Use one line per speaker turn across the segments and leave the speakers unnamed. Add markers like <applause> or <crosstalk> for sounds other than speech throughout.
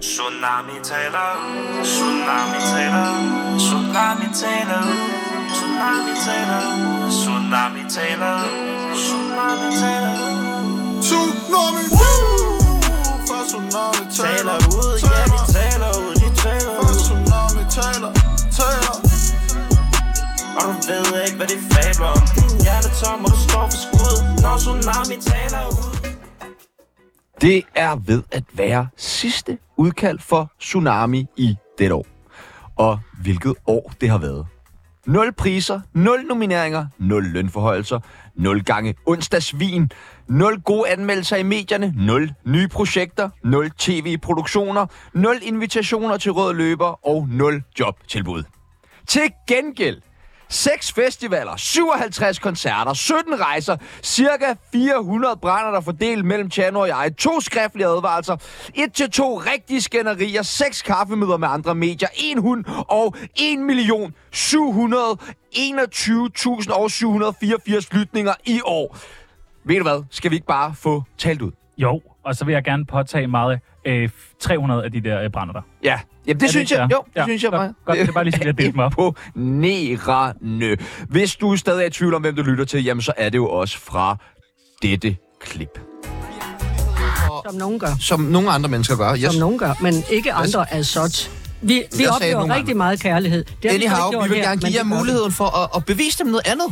Tsunami taler, tsunami taler, tsunami taler, tsunami taler, tsunami taler, tsunami taler.
Tsunami Fra tsunami
Taler ud, ja de taler ud, de taler
Fra
ud.
tsunami taler Taler
Og du ved ikke, hvad de fabler om. Din hjerte tom, og du står for skud, når tsunami taler ud.
Det er ved at være sidste udkald for Tsunami i dette år. Og hvilket år det har været. Nul priser, nul nomineringer, nul lønforhøjelser, nul gange onsdagsvin, nul gode anmeldelser i medierne, nul nye projekter, nul tv-produktioner, nul invitationer til røde løber og nul jobtilbud. Til gengæld 6 festivaler, 57 koncerter, 17 rejser, cirka 400 brænder, der fordelt mellem Tjano og jeg, to skriftlige advarelser, et til to rigtige skænderier, seks kaffemøder med andre medier, en hund og 1 million 721.784 lytninger i år. Ved du hvad? Skal vi ikke bare få talt ud?
Jo, og så vil jeg gerne påtage meget øh, 300 af de der øh, brænder der.
Ja, Jamen, det,
det
synes
ikke
jeg.
fair?
Jo, det
Ja,
synes jeg
godt.
meget.
Godt, det er bare lige sådan, jeg delte mig
<laughs>
op.
Imponerende. Hvis du stadig er i tvivl om, hvem du lytter til, jamen så er det jo også fra dette klip.
Som nogen gør.
Som nogle andre mennesker gør. Jeg,
Som nogen gør, men ikke andre as such. Vi, vi
sagde
oplever
nogen
rigtig
andre.
meget kærlighed. Det har vi,
Anyhow,
ikke gjort
vi vil
her,
gerne
men
give jer
det gør vi.
muligheden for at, at bevise dem noget andet.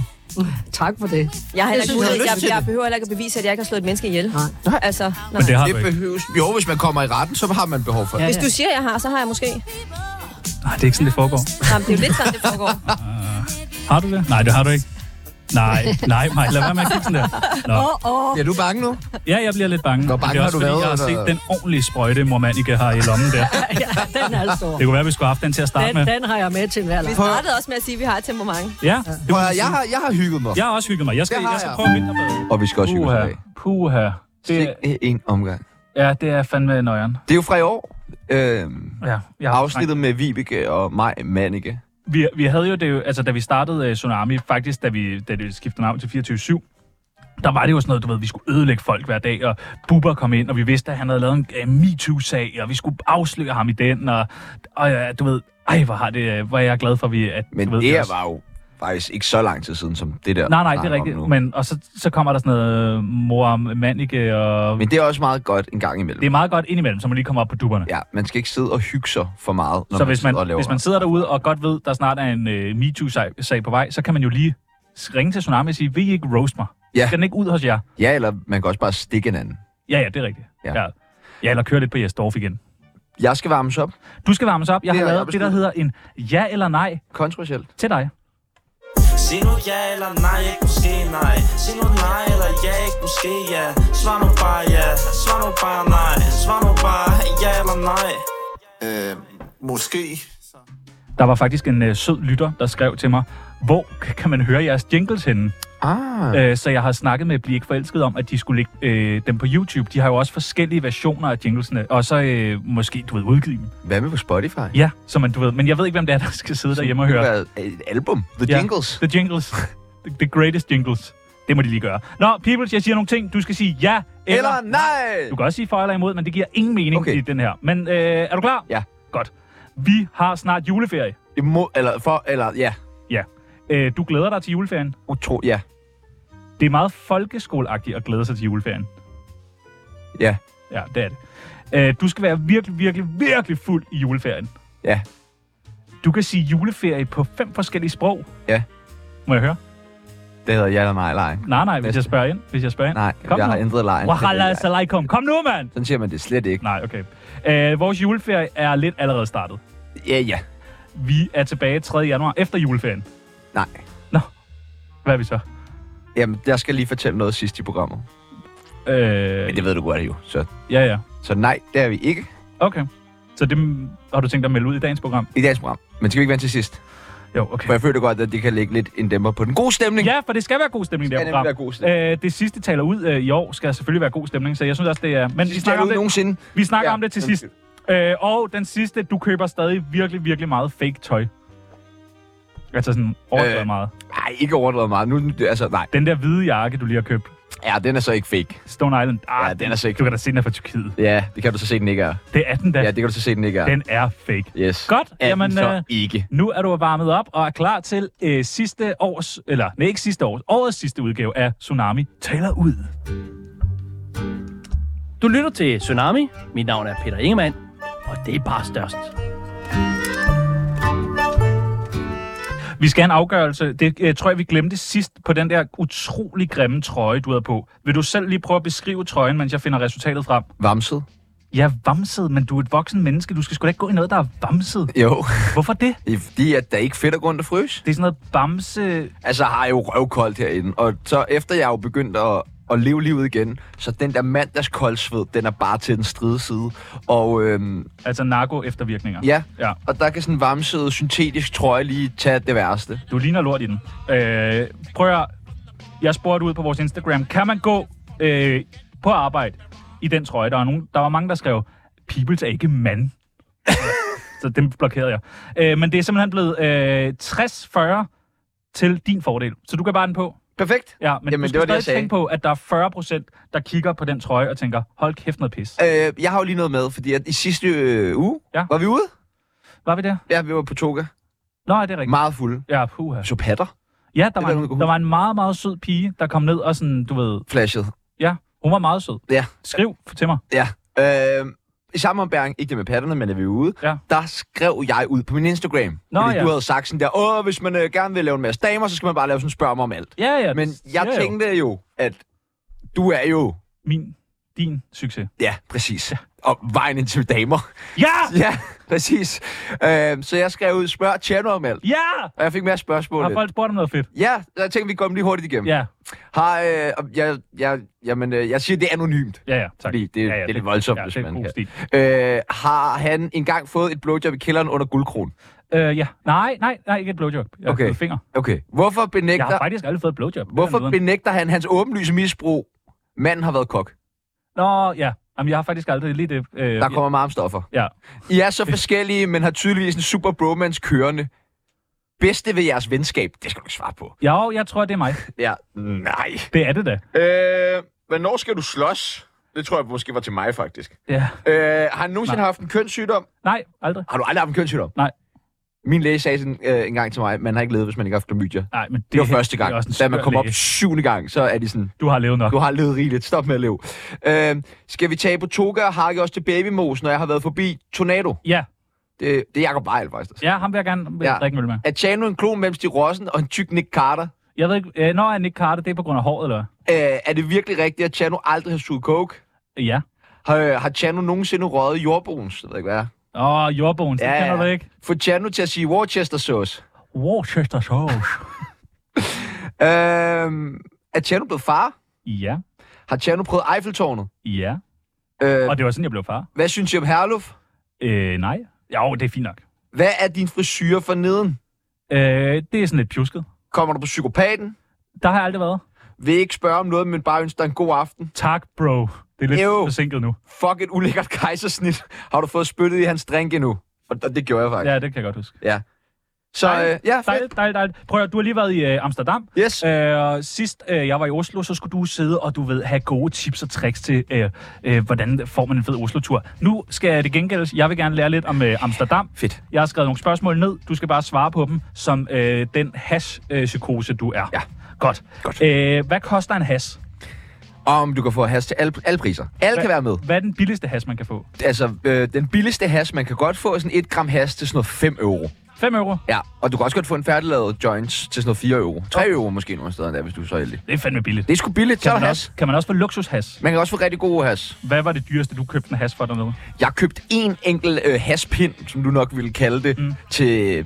Tak for
<laughs>
det.
Jeg, har heller
Jeg
ikke
synes,
mulighed-
du havde lyst
jeg,
til
jeg,
det.
behøver heller ikke at bevise, at jeg ikke har slået et menneske ihjel.
Nej.
Altså, nej.
Men det har
Det
du ikke.
behøves. Jo, hvis man kommer i retten, så har man behov for det.
Ja,
Hvis
ja.
du siger, jeg har, så har jeg måske.
Nej, det er ikke sådan, det foregår.
Jamen, det er jo lidt sådan, det foregår.
Har du det? Nej, det har du ikke. Nej, nej, nej, lad være med at kigge sådan der. Nå.
Bliver du bange nu?
Ja, jeg bliver lidt bange.
Hvor bange
det er også,
har du været,
fordi, Jeg har set
eller?
den ordentlige sprøjte, mor Manike har i lommen der.
ja, den er stor.
Det kunne være, vi skulle have haft den til at starte
Den,
med.
den har jeg med til hver
Vi
lang.
startede også med at sige, at vi har et temperament.
Ja, det
Prøv,
må
at
man
høre, jeg,
sige.
har, jeg har hygget mig.
jeg har også hygget mig. Jeg skal,
Det har
jeg skal
jeg.
prøve vinterbade.
Og vi skal også hygge os i
Puha,
dag.
puha. Det,
Sikke en omgang.
ja, det er fandme nøjeren.
Det er jo fra i år. Øh,
Ja, jeg har
afsnittet med Vibeke og mig, Mannike.
Vi, vi havde jo det, jo- altså da vi startede uh, Tsunami, faktisk da, vi, da det skiftede navn til 24-7, der var det jo sådan noget, du ved, vi skulle ødelægge folk hver dag, og Bubber kom ind, og vi vidste, at han havde lavet en uh, MeToo-sag, og vi skulle afsløre ham i den, og, og ja, du ved, ej, hvor, har det, uh, hvor er jeg glad for, vi, at
Men
du ved,
det
også-
var jo faktisk ikke så lang tid siden, som det der.
Nej, nej, det
snakker
er
om
rigtigt,
nu.
men, og så, så kommer der sådan noget uh, mor og Manike, og
Men det er også meget godt en gang imellem.
det er meget godt indimellem, så man lige kommer op på dupperne.
Ja, man skal ikke sidde og hygge sig for meget, når
så
man
hvis
sidder og
man,
laver
hvis man sidder derude og godt ved, der snart er en øh, MeToo-sag på vej, så kan man jo lige s- ringe til Tsunami og sige, vil I ikke roast mig?
Ja.
Skal den ikke ud hos jer?
Ja, eller man kan også bare stikke en anden.
Ja, ja, det er rigtigt.
Ja.
ja. ja eller køre lidt på Jes Dorf igen.
Jeg skal varmes op.
Du skal varmes op. Jeg
Det
har
har jeg
lavet det, der hedder en ja eller nej
Kontroversielt.
til dig.
Sig nu ja eller nej, ikke måske nej Sig nu nej eller ja, ikke måske ja Svar nu bare ja, svar nu bare nej Svar nu bare ja eller nej
Øh, måske
Der var faktisk en øh, sød lytter, der skrev til mig, hvor k- kan man høre jeres jingles henne?
Ah.
Øh, så jeg har snakket med Bliv ikke forelsket om, at de skulle lægge øh, dem på YouTube. De har jo også forskellige versioner af jinglesene, og så øh, måske, du ved, udgive dem.
Hvad med på Spotify?
Ja, så man, du ved, men jeg ved ikke, hvem det er, der skal sidde derhjemme og høre.
Det kunne være et album. The
Ja.
Jingles.
The Jingles. the, the greatest jingles. Det må de lige gøre. Nå, Peoples, jeg siger nogle ting. Du skal sige ja eller...
Eller nej!
Du kan også sige for eller imod, men det giver ingen mening
Okay.
okay. i den her. Men øh, er du klar?
Ja.
Godt. Vi har snart juleferie.
Imod, eller for, eller ja.
Ja. Øh, du glæder dig til juleferien.
Utro, ja.
Det er meget folkeskoleagtigt at glæde sig til juleferien.
Ja.
Ja, det er det. Øh, du skal være virkelig, virkelig, virkelig fuld i juleferien.
Ja.
Du kan sige juleferie på fem forskellige sprog.
Ja.
Må jeg høre?
Det hedder ja eller nej lejen.
Nej, nej, hvis
Næste.
jeg spørger ind. Hvis jeg spørger ind.
Nej,
Kom
jeg
nu.
har ændret lejen. til det,
Wahala
jeg-
salaikum. Kom nu, mand!
Sådan siger man det slet ikke.
Nej, okay. Øh, vores juleferie er lidt allerede startet.
Ja, ja.
Vi er tilbage 3. januar efter juleferien.
Nej.
Hvad er vi så?
Jamen, jeg skal lige fortælle noget sidst i programmet.
Øh,
Men det ved du godt jo. Så,
Ja, ja.
så nej, det er vi ikke
Okay. Så det mm, har du tænkt dig at melde ud i dagens program?
i dagens program. Men skal vi ikke vente til sidst?
Jo, okay.
For jeg føler godt, at det kan lægge lidt en dæmper på den gode stemning.
Ja, for det skal være god stemning, det
Skal
her
nemlig
program.
være god stemning.
øh, det sidste taler ud øh, i år skal selvfølgelig være god stemning, så jeg synes også, det er... Men vi
Sidst
snakker, om
ud
det,
nogensinde.
vi snakker
Ja,
om det til sidst.
undskyld.
Øh, og den sidste, du køber stadig virkelig, virkelig meget fake tøj. Altså sådan overdrevet
Øh.
meget.
Nej, ikke overdrevet meget. Nu, altså, nej.
Den der hvide jakke, du lige har købt,
Ja, den er så ikke fake.
Stone Island. Ah,
Ja, den er sikkert.
Du kan da se, den er fra Tyrkiet.
Ja, det kan du så se, den ikke er.
Det er den da.
Ja, det kan du så se, den ikke er.
Den er fake.
Yes.
Godt,
Er
jamen,
den så
øh,
ikke.
Nu er du varmet op og er klar til øh, sidste års, eller nej, ikke sidste års, årets sidste udgave af Tsunami taler ud.
Du lytter til Tsunami. Mit navn er Peter Ingemann, og det er bare størst.
Vi skal have en afgørelse. Det øh, tror jeg, vi glemte sidst på den der utrolig grimme trøje, du havde på. Vil du selv lige prøve at beskrive trøjen, mens jeg finder resultatet frem?
Vamset?
Jeg er vamset, men du er et voksen menneske. Du skal sgu da ikke gå i noget, der er vamset.
<laughs> Jo.
Hvorfor det?
Fordi at der er ikke fedt at gå rundt og fryse.
Det er sådan noget bamse...
Altså, jeg har jeg jo røvkoldt herinde. Og så efter jeg er jo begyndt at, at leve livet igen, så den der mandags koldsved, den er bare til den stride side. Og øhm,
Altså narko-eftervirkninger.
ja,
ja.
og der kan sådan en varmsød syntetisk trøje lige tage det værste.
Du ligner lort i den. Øh, prøv at høre. Jeg spurgte ud på vores Instagram, kan man gå øh, på arbejde i den trøje? Der var, nogen, der var mange, der skrev, Peoples er ikke mand. <laughs> Så dem blokerede jeg. Øh, men det er simpelthen blevet øh, 60-40 til din fordel. Så du kan bare den på.
Perfekt.
Ja, men
Jamen,
du
det var
skal
det, jeg
stadig
sagde.
tænke på, at der er 40 procent, der kigger på den trøje og tænker, hold kæft noget pis.
Øh, jeg har jo lige noget med, fordi at i sidste øh, uge
Ja.
var vi ude.
Var vi der?
Ja, vi var på toga.
Nå, er det er rigtigt.
Meget fulde.
Ja, puha.
Så patter.
Ja, der var,
er der, hun kunne
en, der var en meget, meget sød pige, der kom ned og sådan, du ved...
Flashet.
Ja, hun var meget sød.
Ja.
Skriv til mig.
Ja. Øh, I samme ombæring, ikke det med patterne, men er vi ude,
Ja.
der skrev jeg ud på min Instagram.
Nå,
fordi
ja.
du havde sagt sådan der, åh, hvis man øh, gerne vil lave en masse damer, så skal man bare lave sådan en spørg mig om alt.
Ja, ja.
Men
det siger
jeg
jo.
tænkte jo, at du er jo,
Min, din succes.
ja, præcis, og vejen ind til damer.
Ja!
ja, <laughs> præcis. Øh, så jeg skrev ud, spørg Tjerno om alt.
Ja!
Og jeg fik mere spørgsmål.
Har folk spurgt om noget fedt?
Ja, så jeg tænkte, vi går dem lige hurtigt igennem.
Ja,
Har, øh, og jeg, jeg, jamen, øh, jeg siger, det er anonymt.
ja, ja. Tak.
Fordi det,
ja, ja,
det er lidt voldsomt,
ja,
hvis
det er
man
god
kan.
stil.
Øh, har han engang fået et blowjob i kælderen under guldkron?
Øh, ja. Nej, nej, nej, ikke et blowjob. Jeg har
Okay.
fået finger.
Okay. Hvorfor
Jeg
benægter,
har faktisk aldrig fået et blowjob. Det er
hvorfor
noget.
benægter han hans åbenlyse misbrug? Manden har været kok.
Nå, ja. Jamen, jeg har faktisk aldrig lige det. Øh,
Der kommer meget om stoffer.
Ja.
I er så forskellige, men har tydeligvis en super bromance kørende. Bedste ved jeres venskab? Det skal du ikke svare på.
Jo, jeg tror, det er mig.
Ja. Nej.
Det er det da.
Øh, hvornår skal du slås? Det tror jeg måske var til mig, faktisk.
Ja.
Øh, har han nogensinde haft en kønssygdom?
Nej, aldrig.
Har du aldrig haft en kønssygdom?
Nej.
Min læge sagde sådan, øh, en gang til mig, man har ikke levet, hvis man ikke har haft klamydia. Det,
Nej, men det,
det var første gang.
Det er også en
da man
skør
kom op
læge.
syvende gang, så er de sådan,
Du har levet nok.
Du har levet rigeligt. Stop med at leve. Øh, skal vi tage på toga og hakke også til babymos, når jeg har været forbi Tornado?
Ja,
Det, det er Jacob Weil, faktisk.
ja, ham vil jeg gerne
Ja.
ja. drikke en øl med.
Er Chano en klon mellem Stig Rossen og en tyk Nick Carter?
Jeg ved ikke, øh, når han ikke Carter, det er på grund af håret, eller? hvad?
Øh, er det virkelig rigtigt, at Chano aldrig har suget coke?
Ja.
Har, øh, har Chano nogensinde røget jordbruns? Jeg ved ikke, hvad er.
Åh, jordbogen, ja,
Ja,
det kender
ja.
du ikke.
Få Chano til at sige Worcester sauce.
Worcester sauce.
Øh, er Chano blevet far?
ja,
Har Chano prøvet Eiffeltårnet?
ja.
Øh,
Og det var sådan, jeg blev far.
hvad synes I om Herluf?
Øh, nej. Jo, det er fint nok.
Hvad er din frisyr for neden?
Øh, det er sådan lidt pjusket.
Kommer du på psykopaten?
Der har jeg aldrig været.
Vil ikke spørge om noget, men bare ønske dig en god aften?
Tak, bro. Det er lidt
Ew.
forsinket nu.
fuck et ulækkert kejsersnit. Har du fået spyttet i hans drink endnu? Og, og det gjorde jeg faktisk. Ja.
Ja, det kan jeg godt huske.
Så øh, ja, fedt.
Dejligt, dejligt, dejligt. Prøv at høre, du har lige været i øh, Amsterdam.
Yes.
Øh, og sidst øh, jeg var i Oslo, så skulle du sidde og du ved have gode tips og tricks til, øh, øh, hvordan får man en fed Oslo-tur. Nu skal jeg det gengældes. Jeg vil gerne lære lidt om øh, Amsterdam.
Fedt.
Jeg har skrevet nogle spørgsmål ned. Du skal bare svare på dem som øh, den hash-psykose, du er.
Ja.
Godt.
Godt.
Øh, hvad koster en hash?
Om du kan få hash til alle, alle priser. Alle kan være med.
Hvad er den billigste hash, man kan få?
Altså, øh, den billigste hash, man kan godt få er sådan 1 gram hash til sådan noget 5 euro.
5 euro?
Ja, og du kan også godt få en færdiglavet joints til sådan noget 4 euro. 3 euro måske nogle steder endda, hvis du er så heldig.
Det er fandme billigt.
Det er sgu billigt, så er
kan,
der
man
hash.
også, kan man også få luksushash?
Man kan også få rigtig gode hash.
Hvad var det dyreste, du købte en hash for dernede?
Jeg købte en enkelt øh, hashpind, som du nok ville kalde det, mm. til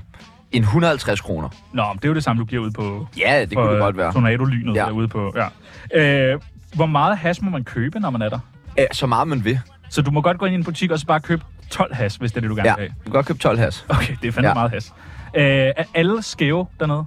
en 150 kroner.
Nå, men det er jo det samme, du giver ud på
Ja, det
øh,
kunne det godt være.
tornadolynet
Ja.
ja. derude på. Ja. Øh, hvor meget hash må man købe, når man er der?
Ja, så meget man vil.
Så du må godt gå ind i en butik og så bare købe 12 hash, hvis det er det, du gerne
Ja,
vil have.
du kan godt købe 12 hash.
Okay, det er fandme
Ja.
ja. meget hash. Øh, er alle skæve dernede?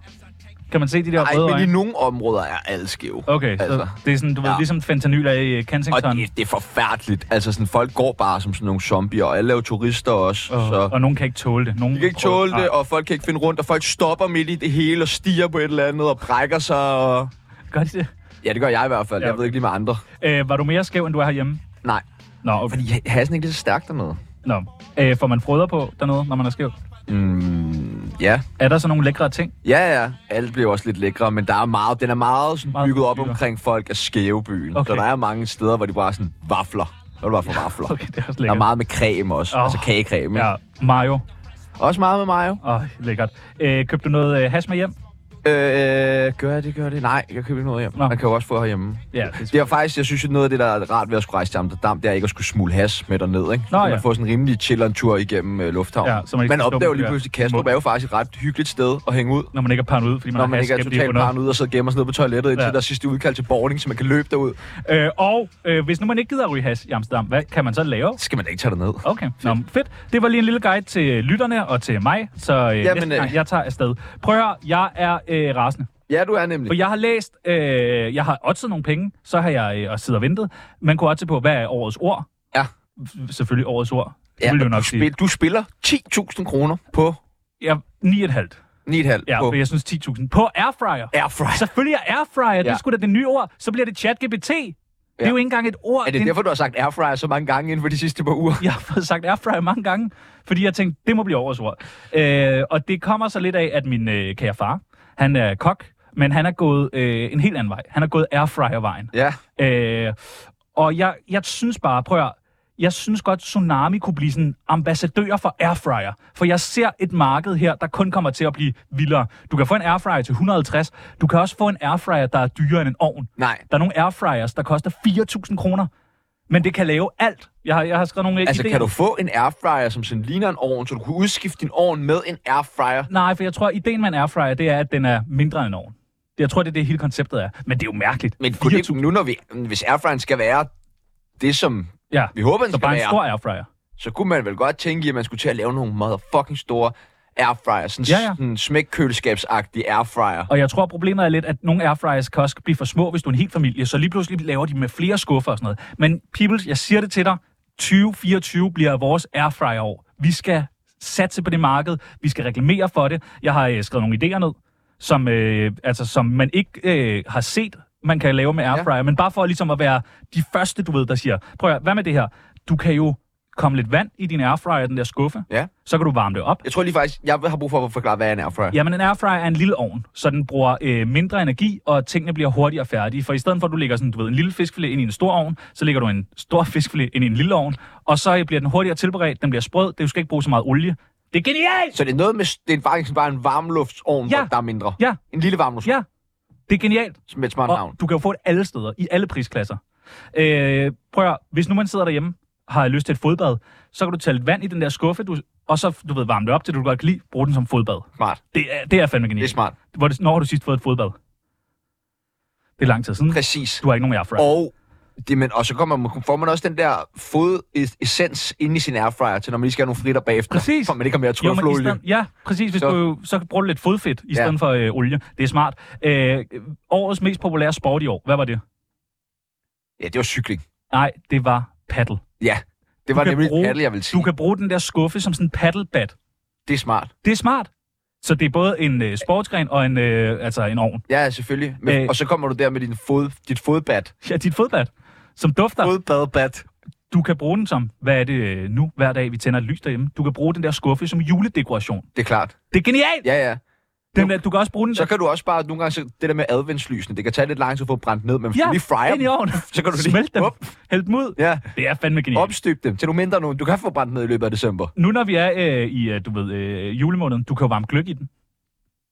Kan man se de der
Nej,
røde
men i
øjne?
nogle områder er alle skæve.
Okay,
altså.
altså. så det er sådan, du ved,
Ja.
ligesom fentanyl er i øh,
Og
Kensington.
det, det er forfærdeligt. Altså, sådan, folk går bare som sådan nogle zombier, og alle er jo turister også.
og,
så.
og nogen kan ikke tåle det. Nogen
De kan ikke
prøver- Ah,
tåle det, og folk kan ikke finde rundt, og folk stopper midt i det hele og stiger på et eller andet og brækker sig. Og...
Gør de det?
Ja, det gør jeg i hvert fald.
Ja,
Jeg ved
okay.
ikke lige med andre.
Øh, var du mere skæv, end du er herhjemme?
Nej,
Nå, okay.
fordi ha- hasen er ikke lige så stærk dernede.
Nå. Øh, får man froder på dernede, når man er skæv?
Mm, ja.
Er der så nogle lækre ting?
Ja, ja. Alt bliver også lidt lækre, men der er meget, den er meget, sådan,
Meget
bygget op
byer.
omkring folk af skævebyen.
Okay.
Okay. Så der er mange steder, hvor de bare er sådan vafler. Så er det bare for vafler.
Okay, det er også
Der er
lækkert.
meget med creme også.
Åh.
Oh. Altså kagecreme. Ja.
Ja, mayo.
Også meget med mayo.
Åh, lækkert. Øh, købte du noget øh, hash med hjem?
Øh, gør jeg det, gør jeg det? Nej, jeg køber ikke noget hjem.
Nå.
Man kan jo også få herhjemme.
Ja, det er
Det er faktisk, jeg synes, at noget af det, der er rart ved at skulle rejse til Amsterdam, det er ikke at skulle smule has med derned, ikke? Så
Nå,
kan
ja.
man får sådan en rimelig chilleren tur igennem øh, lufthavnen.
Ja,
Ja,
så man
man,
ikke
man
skal stå
opdager jo
med
lige
det der
pludselig, at Kastrup
mund.
er jo faktisk et ret hyggeligt sted at hænge ud.
når man ikke er paranoid, fordi man
Når
har
man
hash,
ikke er
skal man blive
totalt
bundet.
paranoid og så gemmer sig ned på toilettet, indtil
Ja.
ja. der er sidste udkald til boarding, så man kan løbe derud.
Øh, og øh, hvis nu man ikke gider at ryge hash i Amsterdam, hvad kan man så lave?
Så skal man da ikke tage derned.
Okay, Nå, men fedt. Det var lige en lille guide til lytterne og til mig, så øh, Jamen, næste
øh.
gang, jeg tager afsted. Prøv at høre, jeg er øh, rasende.
Ja, du er
For
nemlig.
jeg har læst, øh, jeg har oddset nogle penge, så har jeg øh, og siddet og ventet. Man kunne oddse på, hvad er årets ord?
Ja.
F- Selvfølgelig årets ord. Det
Ja,
ville jo
du,
nok sige.
spil, du spiller 10.000 kroner på
Ja, 9,5.
9,5
Ja,
på
for jeg synes 10.000. På airfryer.
Airfryer.
Selvfølgelig er airfryer, ja. det er
Ja.
sgu da det nye ord. Så bliver det ChatGPT. Ja. Det er jo ikke engang et ord.
Er det
en-
derfor, du har sagt airfryer så mange gange inden for de sidste par uger?
<laughs> jeg har fået sagt airfryer mange gange, fordi jeg tænkte, det må blive årets ord. Øh, og det kommer så lidt af, at min øh, kære far, han er kok, men han er gået øh, en helt anden vej. Han er gået airfryer-vejen.
Ja.
Øh, og jeg, jeg synes bare, prøv at, høre, jeg synes godt, Tsunami kunne blive sådan ambassadør for airfryer. For jeg ser et marked her, der kun kommer til at blive vildere. Du kan få en airfryer til 150. Du kan også få en airfryer, der er dyrere end en ovn.
Nej.
Der er nogle airfryers, der koster 4.000 kroner. Men det kan lave alt. Jeg har, jeg har skrevet nogle øh,
Altså,
idéer.
kan du få en airfryer, som sådan ligner en ovn, så du kan udskifte din ovn med en airfryer?
Nej, for jeg tror, at ideen med en airfryer, det er, at den er mindre end en ovn. Det- Jeg tror, det er det, hele konceptet er. Men det er jo mærkeligt.
Men kunne det, nu, når vi, hvis airfryeren skal være det, som
Ja,
vi håber, den
så
skal
bare en
være,
stor airfryer.
så kunne man vel godt tænke, i, at man skulle til at lave nogle motherfucking store airfryer. Sådan
Ja, ja.
ja, ja. smækkøleskabsagtig airfryer.
Og jeg tror, problemet er lidt, at nogle airfryers kan også blive for små, hvis du er en hel familie. Så lige pludselig laver de med flere skuffer og sådan noget. Men people, jeg siger det til dig. 2024 bliver vores airfryer-år. Vi skal satse på det marked. Vi skal reklamere for det. Jeg har øh, skrevet nogle idéer ned, som, øh, altså, som man ikke øh, har set, man kan lave med airfryer. Ja. Men bare for ligesom at være de første, du ved, der siger, prøv at, høre, hvad med det her? Du kan jo komme lidt vand i din airfryer, den der skuffe.
Ja.
Så kan du varme det op.
Jeg tror lige faktisk, jeg har brug for at forklare, hvad er en airfryer.
Jamen, en airfryer er en lille ovn, så den bruger øh, mindre energi, og tingene bliver hurtigere færdige. For i stedet for, at du lægger sådan, du ved, en lille fiskfilet ind i en stor ovn, så lægger du en stor fiskfilet ind i en lille ovn, og så øh, bliver den hurtigere tilberedt, den bliver sprød, det du skal ikke bruge så meget olie. Det er genialt!
Så det er noget med, det er faktisk bare en varmluftsovn,
Ja.
ja. der er mindre.
Ja.
En lille varmluftsovn
Ja, det er genialt.
ja. med et smart
Og
navn.
du kan jo få det alle steder, i alle prisklasser. Øh, prøv at, høre, hvis nu man sidder derhjemme, har lyst til et fodbad, så kan du tage lidt vand i den der skuffe, du, og så, du ved, varme det op til, det, du godt kan lide, bruge den som fodbad.
Smart.
Det er, det er fandme
Det
genialt.
er smart.
Hvor, det- når har du sidst fået et fodbad? Det er lang tid siden.
Præcis.
Du har ikke nogen airfryer.
Og, det, men, og så kommer man, får man også den der fodessens ind i sin airfryer, til når man lige skal have nogle fritter bagefter.
Præcis.
For man ikke har mere
Jo, men i
trøffelolie.
stedet- ja, præcis. Hvis så.
Så-
du så bruger du lidt fodfedt i
Ja.
stedet for øh, olie. Det er smart. Øh, årets mest populære sport i år. Hvad var det?
Ja, det var cykling.
Nej, det var paddle.
Ja, det var
kan
nemlig
bruge-
bruge, paddle, jeg ville sige.
Du kan bruge den der skuffe som sådan en paddlebat.
Det er smart.
Det er smart. Så det er både en øh, sportsgren og en, øh, altså en ovn.
Ja, selvfølgelig. Men,
Øh.
øh. Og så kommer du der med din fod, dit fodbat.
Ja, dit fodbad, som dufter.
Fodbadbat.
Du kan bruge den som, hvad er det øh, nu, hver dag vi tænder et lys derhjemme. Du kan bruge den der skuffe som juledekoration.
Det er klart.
Det er genialt!
Ja, ja.
Den der, du kan også bruge den
Så kan du også bare nogle gange, så det der med adventslysene, det kan tage lidt lang tid at få brændt ned, men hvis
Ja,
du lige fryer
ind i
dem,
ovnen.
<laughs> så kan du lige
Smelt dem.
Op.
Hæld dem ud.
ja,
Det er fandme genialt.
opstøb dem til du mindre nu. Du kan få brændt ned i løbet af december.
Nu når vi er øh, i, øh, du ved, øh, julemåneden, du kan jo varme gløk i den.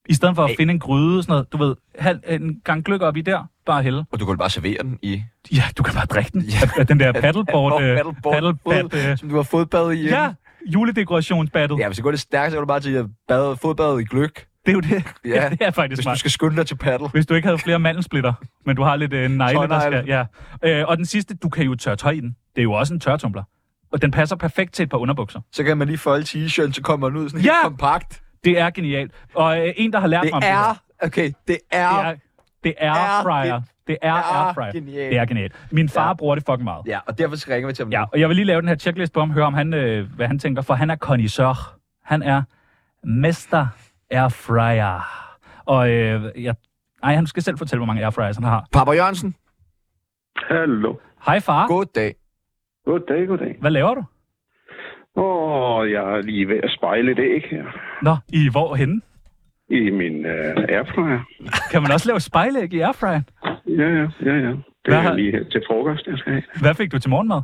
I stedet for at finde en gryde, sådan noget, du ved, halv, øh, en gang gløk op i der, bare hælde.
Og du kan vel bare servere den i
Ja, du kan bare drikke den. Ja. Af, af
<laughs>
den der paddleboard, øh,
paddleboard,
paddlebat, øh,
som du har fodbadet i.
ja, juledekorationsbattle.
Ja, hvis det går lidt stærkt, så kan du bare til at bade, fodbade i gløk.
Det er jo det. Ja,
Ja.
det er faktisk
Hvis
smart.
du skal skynde dig til paddle.
Hvis du ikke havde flere mandelsplitter, men du har lidt øh, negle, der skal... Ja. Øh, og den sidste, du kan jo tørre tøj i den. Det er jo også en tørretumbler. Og den passer perfekt til et par underbukser.
Så kan man lige folde t-shirten, så kommer den ud sådan
Ja!
helt kompakt.
Det er genialt. Og øh, en, der har lært
Det
mig... om her.
er, okay, det
Det
er,
er, det er airfryer.
det
Det er airfryer.
genialt.
Det er genialt. Min far ja.
Ja.
bruger det fucking meget. Ja.
ja, og derfor skal ringer vi til ham.
ja,
Ja.
og jeg vil lige lave den her checklist på ham, høre om han, øh, hvad han tænker, for han er connoisseur. Han er mester airfryer. Og øh, jeg Nej, han skal selv fortælle, hvor mange airfryers han har.
Papa Jørgensen,
Hallo.
Hej far,
god dag.
Goddag, goddag.
hvad laver du?
Åh, jeg er lige ved at spejle det, ikke her?
Nå, i hvor henne?
I min øh, airfryer.
Kan man også lave spejlæg i airfryeren?
Ja, ja, ja, ja. Det
Hvad
er
har-
lige her til frokost, jeg skal have.
Hvad fik du til morgenmad?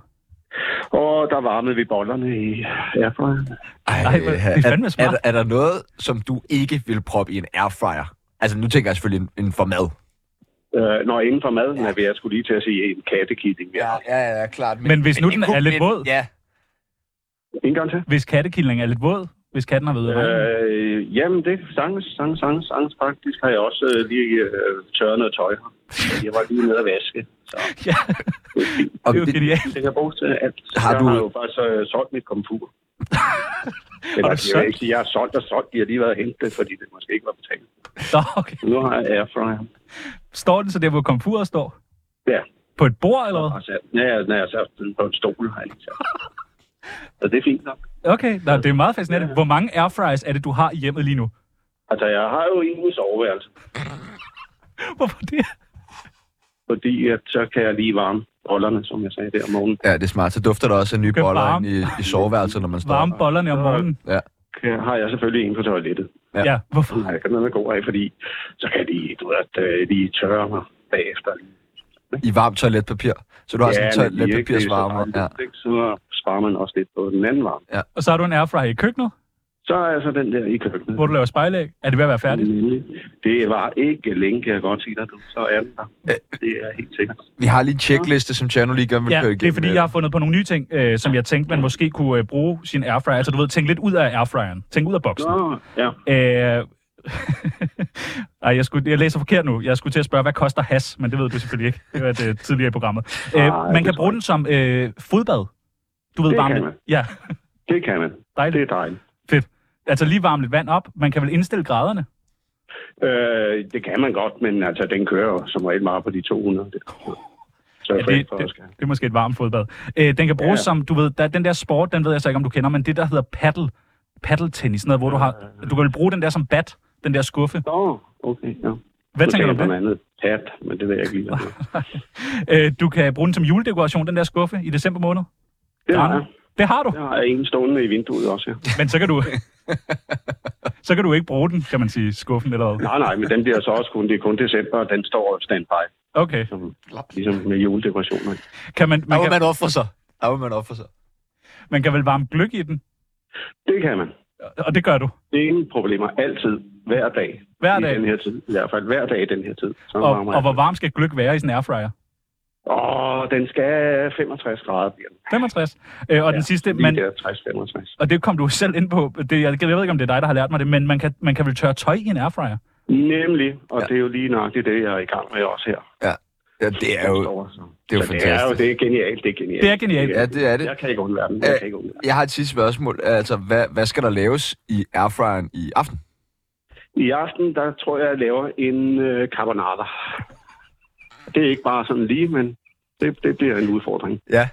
Og der varmede vi bollerne i airfryeren.
Ej,
Ej, hvor- det er fandme smart.
Er, er, er der noget, som du ikke vil proppe i en airfryer? Altså, nu tænker jeg selvfølgelig en, en for mad.
Øh, når inden for maden er vi, jeg skulle lige til at sige en kattekilling. Ja.
ja, ja, klart.
Men hvis nu
det
den
kunne-
er lidt
men-
våd?
Ja.
En gang til.
Hvis kattekillingen er lidt våd? Hvis katten har været ude øh,
Øh, jamen, det er sangs, sangs, sangs, sangs faktisk. Har jeg også øh, lige øh, tørret noget tøj. her. Jeg var lige nede at vaske.
<laughs> Ja,
Og
det er jo
det,
genialt.
Det kan bruges til alt.
Har
jeg
du-
har jo faktisk øh, solgt mit komfur. Eller,
Har du
det er jo
solgt?
ikke, sige, jeg har solgt og solgt. De har lige været hentet, fordi det måske ikke var betalt.
Nå, okay.
Nu har jeg airfryer.
Står den så der, hvor komfuret står?
Ja.
På et bord, eller hvad?
Og sat, når jeg, når jeg sat den på en stol, har jeg lige sat. Så det er fint nok.
Okay, Nå, det er meget fascinerende. Hvor mange airfryers er det, du har i hjemmet lige nu?
Altså, jeg har jo en i soveværelse,
Hvorfor det?
fordi at, så kan jeg lige varme bollerne, som jeg sagde der om morgenen.
ja, det er smart. Så dufter der også af nye
Skal
boller
varme.
ind i, i soveværelset, når man står.
Varme bollerne om morgenen.
Kan- Har jeg selvfølgelig en på toilettet.
Ja.
Ja, ja hvorfor?
Nej, jeg kan man gå af, fordi så kan jeg lige, du ved, at, øh, lige tørre mig bagefter.
I varmt toiletpapir. Så du har sådan en
men lige ikke, det er så
toiletpapirsvarmer.
varmt,
Ja.
ikke? Så sparer man også lidt på den anden varme.
Og så har du en airfryer i køkkenet,
Så er jeg så den der i køkkenet.
hvor du laver spejlæg. Er det ved at være
Mm.
færdigt?
Nemlig. Det var ikke længe, kan jeg godt sige dig. du. Så er den der. Det er helt sikkert.
Vi har lige en checkliste, som Tjerno lige gerne vil
Ja,
køre
det er
igennem.
fordi, jeg har fundet på nogle nye ting, øh, som jeg tænkte, man måske kunne øh, bruge sin airfryer. Altså, du ved, tænk lidt ud af airfryeren. Tænk ud af boksen.
Nå, ja.
Øh... <laughs> Ej, jeg, skulle, jeg læser forkert nu. Jeg skulle til at spørge, hvad koster has, men det ved du selvfølgelig ikke. Det var det øh, tidligere i programmet. Øh,
Nej,
man
Ah, det
kan
tror
bruge
jeg
den som øh, fodbad. Du ved,
Det
varme
kan
lidt.
man.
Ja,
Det kan man. Det
dejligt.
er dejligt.
Fedt. Altså lige varme lidt vand op. Man kan vel indstille graderne?
Øh, det kan man godt, men altså, den kører jo som regel meget på de 200. Der. Så
Ja,
jeg ja,
det,
for,
det,
det, det.
det er måske et varmt fodbad. Øh, den kan bruges ja.
Ja.
som, du ved, der, den der sport, den ved jeg så ikke, om du kender, men det der hedder paddle, paddle tennis, noget, hvor du har, du kan vel bruge den der som bat, den der skuffe.
Nå, okay, ja.
Hvad tænker du om
om
det?
andet pat, men det ved jeg ikke lige. hvad det er.
<laughs> Øh, du kan bruge den som juledekoration, den der skuffe, i december måned.
Det har
Graner.
jeg.
Det har du,
Jeg har en stående i vinduet også, ja.
men så kan
<laughs>
du... så kan du ikke bruge den, kan man sige, skuffen eller hvad.
Nej, nej, men den bliver så også kun, det er kun december, og den står standby,
Okay.
som, ligesom med juledekorationer.
Kan man,
Der
man,
må
kan,
man ofre sig. Der må man ofre sig.
man kan vel varme gløk i den,
Det kan man.
og det gør du
Det er ingen problemer. Altid. Hver dag.
hver
I den
dag.
her tid. I hvert fald hver dag i den her tid. Så
Og,
varmer
og
jeg.
hvor varm skal gløk være i sådan en airfryer?
Åh, den skal 65 grader. Bliver den.
65. Øh, og den sidste,
Lige
man,
der 60-65.
Og det kom du selv ind på. Det, jeg, jeg ved ikke, om det er dig, der har lært mig det, men man kan, man kan vel tørre tøj i en airfryer.
Nemlig. Og ja. det er jo lige nok det, jeg er i gang med også her.
Ja, det er jo,
Over, så.
det er jo
Så det er jo
fantastisk.
det er genialt. Det er genialt.
Det er genialt.
Ja, det er det.
Jeg kan ikke undvære den.
Ja.
Jeg kan ikke undvære
Jeg har et sidste spørgsmål. Altså, hvad, hvad skal der laves i airfryeren i aften?
den. I aften, der tror jeg, jeg laver en øh, carbonara. Det er ikke bare sådan lige, men det, det bliver en udfordring.
Ja.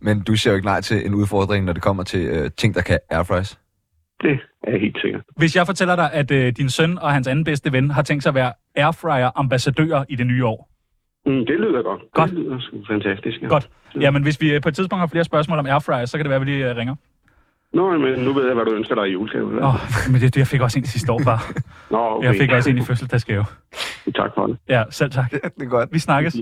Men du ser jo ikke nej til en udfordring, når det kommer til øh, ting, der kan airfryes.
Det er helt sikkert.
Hvis jeg fortæller dig, at øh, din søn og hans anden bedste ven har tænkt sig at være airfryer-ambassadører i det nye år.
Mm, det lyder godt.
Godt.
Det lyder sgu fantastisk. Ja.
Godt. Jamen, hvis vi øh, på et tidspunkt har flere spørgsmål om airfryer, så kan det være, at vi lige øh, ringer.
Nå, men nu ved jeg, hvad du ønsker dig i julegave.
Åh, oh, <laughs> men det, det jeg fik også ind sidste år, bare.
Nå, okay.
Jeg fik også ind i fødselsdagsgave.
Tak for det.
Ja, selv tak.
<laughs> Det er godt.
Vi snakkes.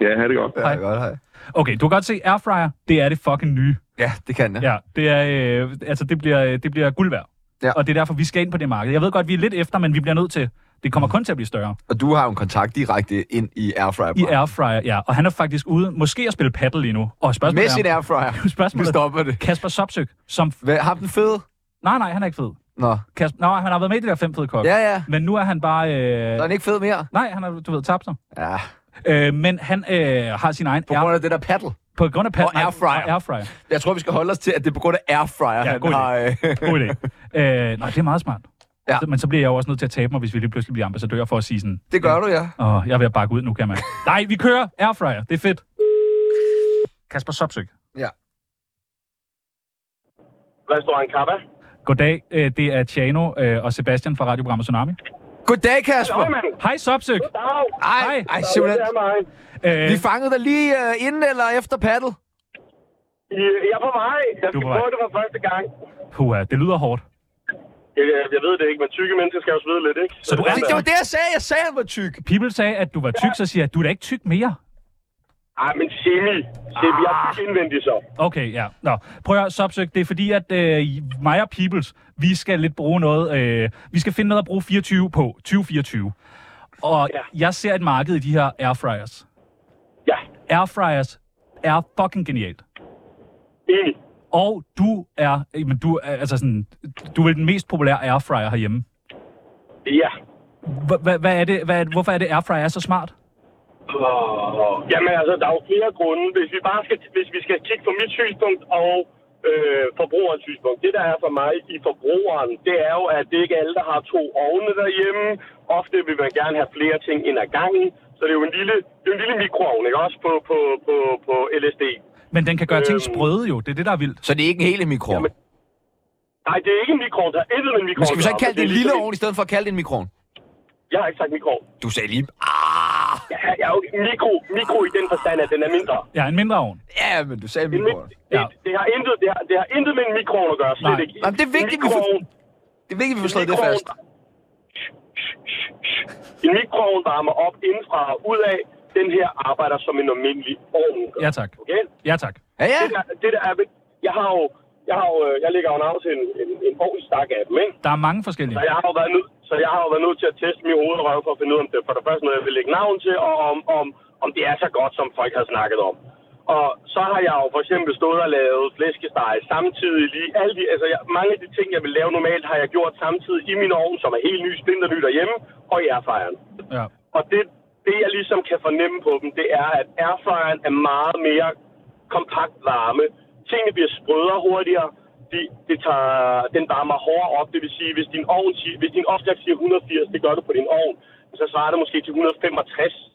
Ja, ha' det godt.
Ja,
Hej.
godt, hej.
Okay, du kan godt se, airfryer, det er det fucking nye.
Ja, det kan jeg.
Ja, det, er, øh, altså, det, bliver, øh, det bliver guld værd.
Ja.
Og det er derfor, vi skal ind på det marked. Jeg ved godt, vi er lidt efter, men vi bliver nødt til. Det kommer kun til at blive større.
Og du har jo en kontakt direkte ind i airfryer.
I airfryer, ja. Og han er faktisk ude, måske at spille paddle lige nu. Og spørgsmålet
Med sin
er,
airfryer. Nu
<laughs> spørgsmålet er
stopper det.
Kasper Sopsøk, som... f-
Hvad, har den fede?
Nej, nej, han er ikke fed.
Nå.
Kasper... Nå, han har været med i det der fem fede kok.
Ja, ja.
Men nu er han bare...
Der er
Øh...
den ikke fed mere.
Nej, han har, du ved, tabt sig.
Ja,
Øh, men han øh, har sin egen...
på grund af det der paddle.
på grund af paddle...
og airfryer.
Og airfryer.
Jeg tror, vi skal holde os til, at det er på grund af airfryer.
Ja,
han
god idé.
har, øh,
God idé. øh, nej, det er meget smart.
Ja.
Så- Men så bliver jeg jo også nødt til at tabe mig, hvis vi lige pludselig bliver ambassadør for at sige sådan...
<laughs> det gør du, ja.
Åh, jeg er ved at bakke ud nu, kan man. nej, vi kører airfryer. Det er fedt. Kasper Sopsøk.
Restaurant Kappa.
Goddag, øh, det er Tjano øh, og Sebastian fra radioprogrammet Tsunami.
Goddag, Kasper.
Hej, mand.
Hej, Sopsøk.
Dag.
Ej, ej, simpelthen.
Det er mig.
Øh,
Vi fangede dig lige øh, inden eller efter paddle.
Øh, Jeg er på vej. Jeg
Du er
skal
på vej.
prøve det for første gang.
puha, det lyder hårdt.
Jeg, jeg ved det ikke, men tykke mennesker skal jo svede lidt, ikke?
Så du er
Det, det var det, jeg sagde. Jeg sagde, han var tyk.
People sagde, at du var tyk, så siger jeg, du er da ikke tyk mere. Ah.
Ej, men semi. semi. Jeg er tyk indvendig så.
Okay, ja. Nå, prøv at høre, Sopsøk, det er fordi, at øh, mig og Peoples, vi skal lidt bruge noget, øh, vi skal finde noget at bruge 24 på, 2024. Og ja. jeg ser et marked i de her airfryers.
Ja,
Airfryers er fucking genialt.
enig.
Og du er, øh, men du er, altså sådan, du er vel den mest populære airfryer herhjemme.
Ja.
Hva- hva- Hvad er det, hvad er, det- hvorfor er det airfryer er så smart?
Åh, Jamen altså, der er jo flere grunde. Hvis vi bare skal, hvis vi skal kigge på mit synspunkt og øh, forbrugerens synspunkt. Det, der er for mig i forbrugeren, det er jo, at det ikke er alle, der har to ovne derhjemme. Ofte vil man gerne have flere ting ind ad gangen. Så det er jo en lille, det er jo en lille mikroovn, ikke? Også på, på, på, på LSD.
Men den kan gøre ting
Øh.
Øhm.
sprøde jo, det er det, der er vildt.
Så det er ikke en hel mikro.
Jamen, Nej, det er ikke en mikroovn. Der er intet med en
Men
mikroovn.
skal vi så ikke
at gøre,
kalde det en
men
lille
ligesom-
ovn, i stedet for at kalde det en mikron?
Jeg har ikke sagt mikroovn.
Du sagde lige...
Ja, ja, okay. mikro, mikro i den forstand, at den er mindre.
Ja, en mindre ovn.
Ja, men du sagde
Det,
mikron.
det,
Ja.
det, har intet, det, har, det har intet med en mikroovn at gøre, slet
Nej.
ikke.
Jamen, det er vigtigt, vi får-
Mikroovn-
Det er vigtigt, at vi får slået det
mikroovn-
fast.
En mikroovn varmer op indfra og ud af. Den her arbejder som en almindelig ovn. gør,
Ja, tak.
Okay?
Ja, tak.
Ja, ja.
Det, der, det der er... ved- Jeg har jo... Jeg, har jo, øh, jeg lægger jo navn til en, en, en ovnstak af dem, ikke?
Der er mange forskellige.
Så jeg har jo været nødt, så jeg har jo været nødt til at teste min hoved og røv for at finde ud af, om det er for det første noget, jeg vil lægge navn til, og om, om, om det er så godt, som folk har snakket om. Og så har jeg jo for eksempel stået og lavet flæskesteg samtidig lige. Alle de, altså jeg, mange af de ting, jeg vil lave normalt, har jeg gjort samtidig i min ovn, som er helt ny, splinterny derhjemme, og i airfryeren.
Ja.
Og det, det, jeg ligesom kan fornemme på dem, det er, at airfryeren er meget mere kompakt varme. Tingene bliver sprødere hurtigere. De, det tager, den varmer hårdere op. Det vil sige, hvis din, ovn, si- hvis din opskrift siger 180, det gør du på din ovn, så svarer det måske til 165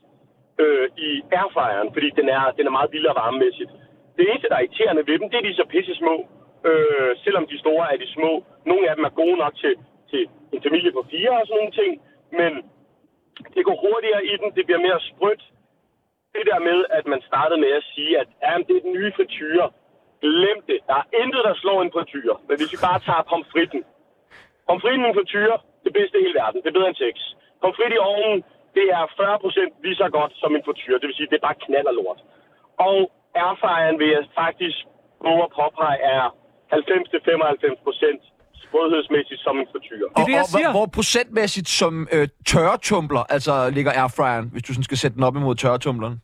øh, i airfryeren, fordi den er, den er meget vildere varmemæssigt. Det eneste, der er irriterende ved dem, det er, at de er så pisse små. Øh, selvom de store er de små. Nogle af dem er gode nok til, til en familie på fire og sådan nogle ting, men det går hurtigere i den, det bliver mere sprødt. Det der med, at man startede med at sige, at jamen, det er den nye frityre. Glem det. Der er intet, der slår en frityre. Men hvis vi bare tager pomfritten. Pomfritten i en frityre, det bedste i hele verden. Det er bedre end sex. Pomfrit i ovnen, det er 40% lige så godt som en frityre. Det vil sige, det er bare knald og lort. Og airfryeren vil jeg faktisk våge at påpege er 90-95% sprødhedsmæssigt som en frityre.
Det er det, jeg
og, hvor-
siger.
hvor procentmæssigt som øh, tørretumbler, altså ligger airfryeren, hvis du sådan skal sætte den op imod tørretumbleren?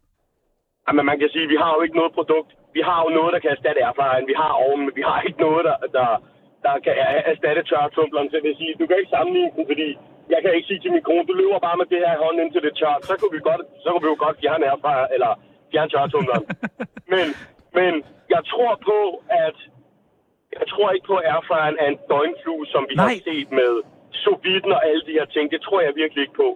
Jamen, man kan sige, vi har jo ikke noget produkt. Vi har jo noget, der kan erstatte airfryeren. Vi har ovnen, men vi har ikke noget, der, der, der kan er- erstatte tørretumbleren. Så det vil sige, du kan ikke sammenligne den, fordi jeg kan ikke sige til min kone, du løber bare med det her i hånden, indtil det er tørt. Så kunne vi, godt, så kunne vi jo godt fjerne airfryer, eller fjerne
<laughs>
tørretumbleren. men, men jeg tror på, at jeg tror ikke på, at airfryeren er en døgnflue, som vi Nej. har
Nej.
set med soviden og alle de her ting. Det tror jeg virkelig ikke på.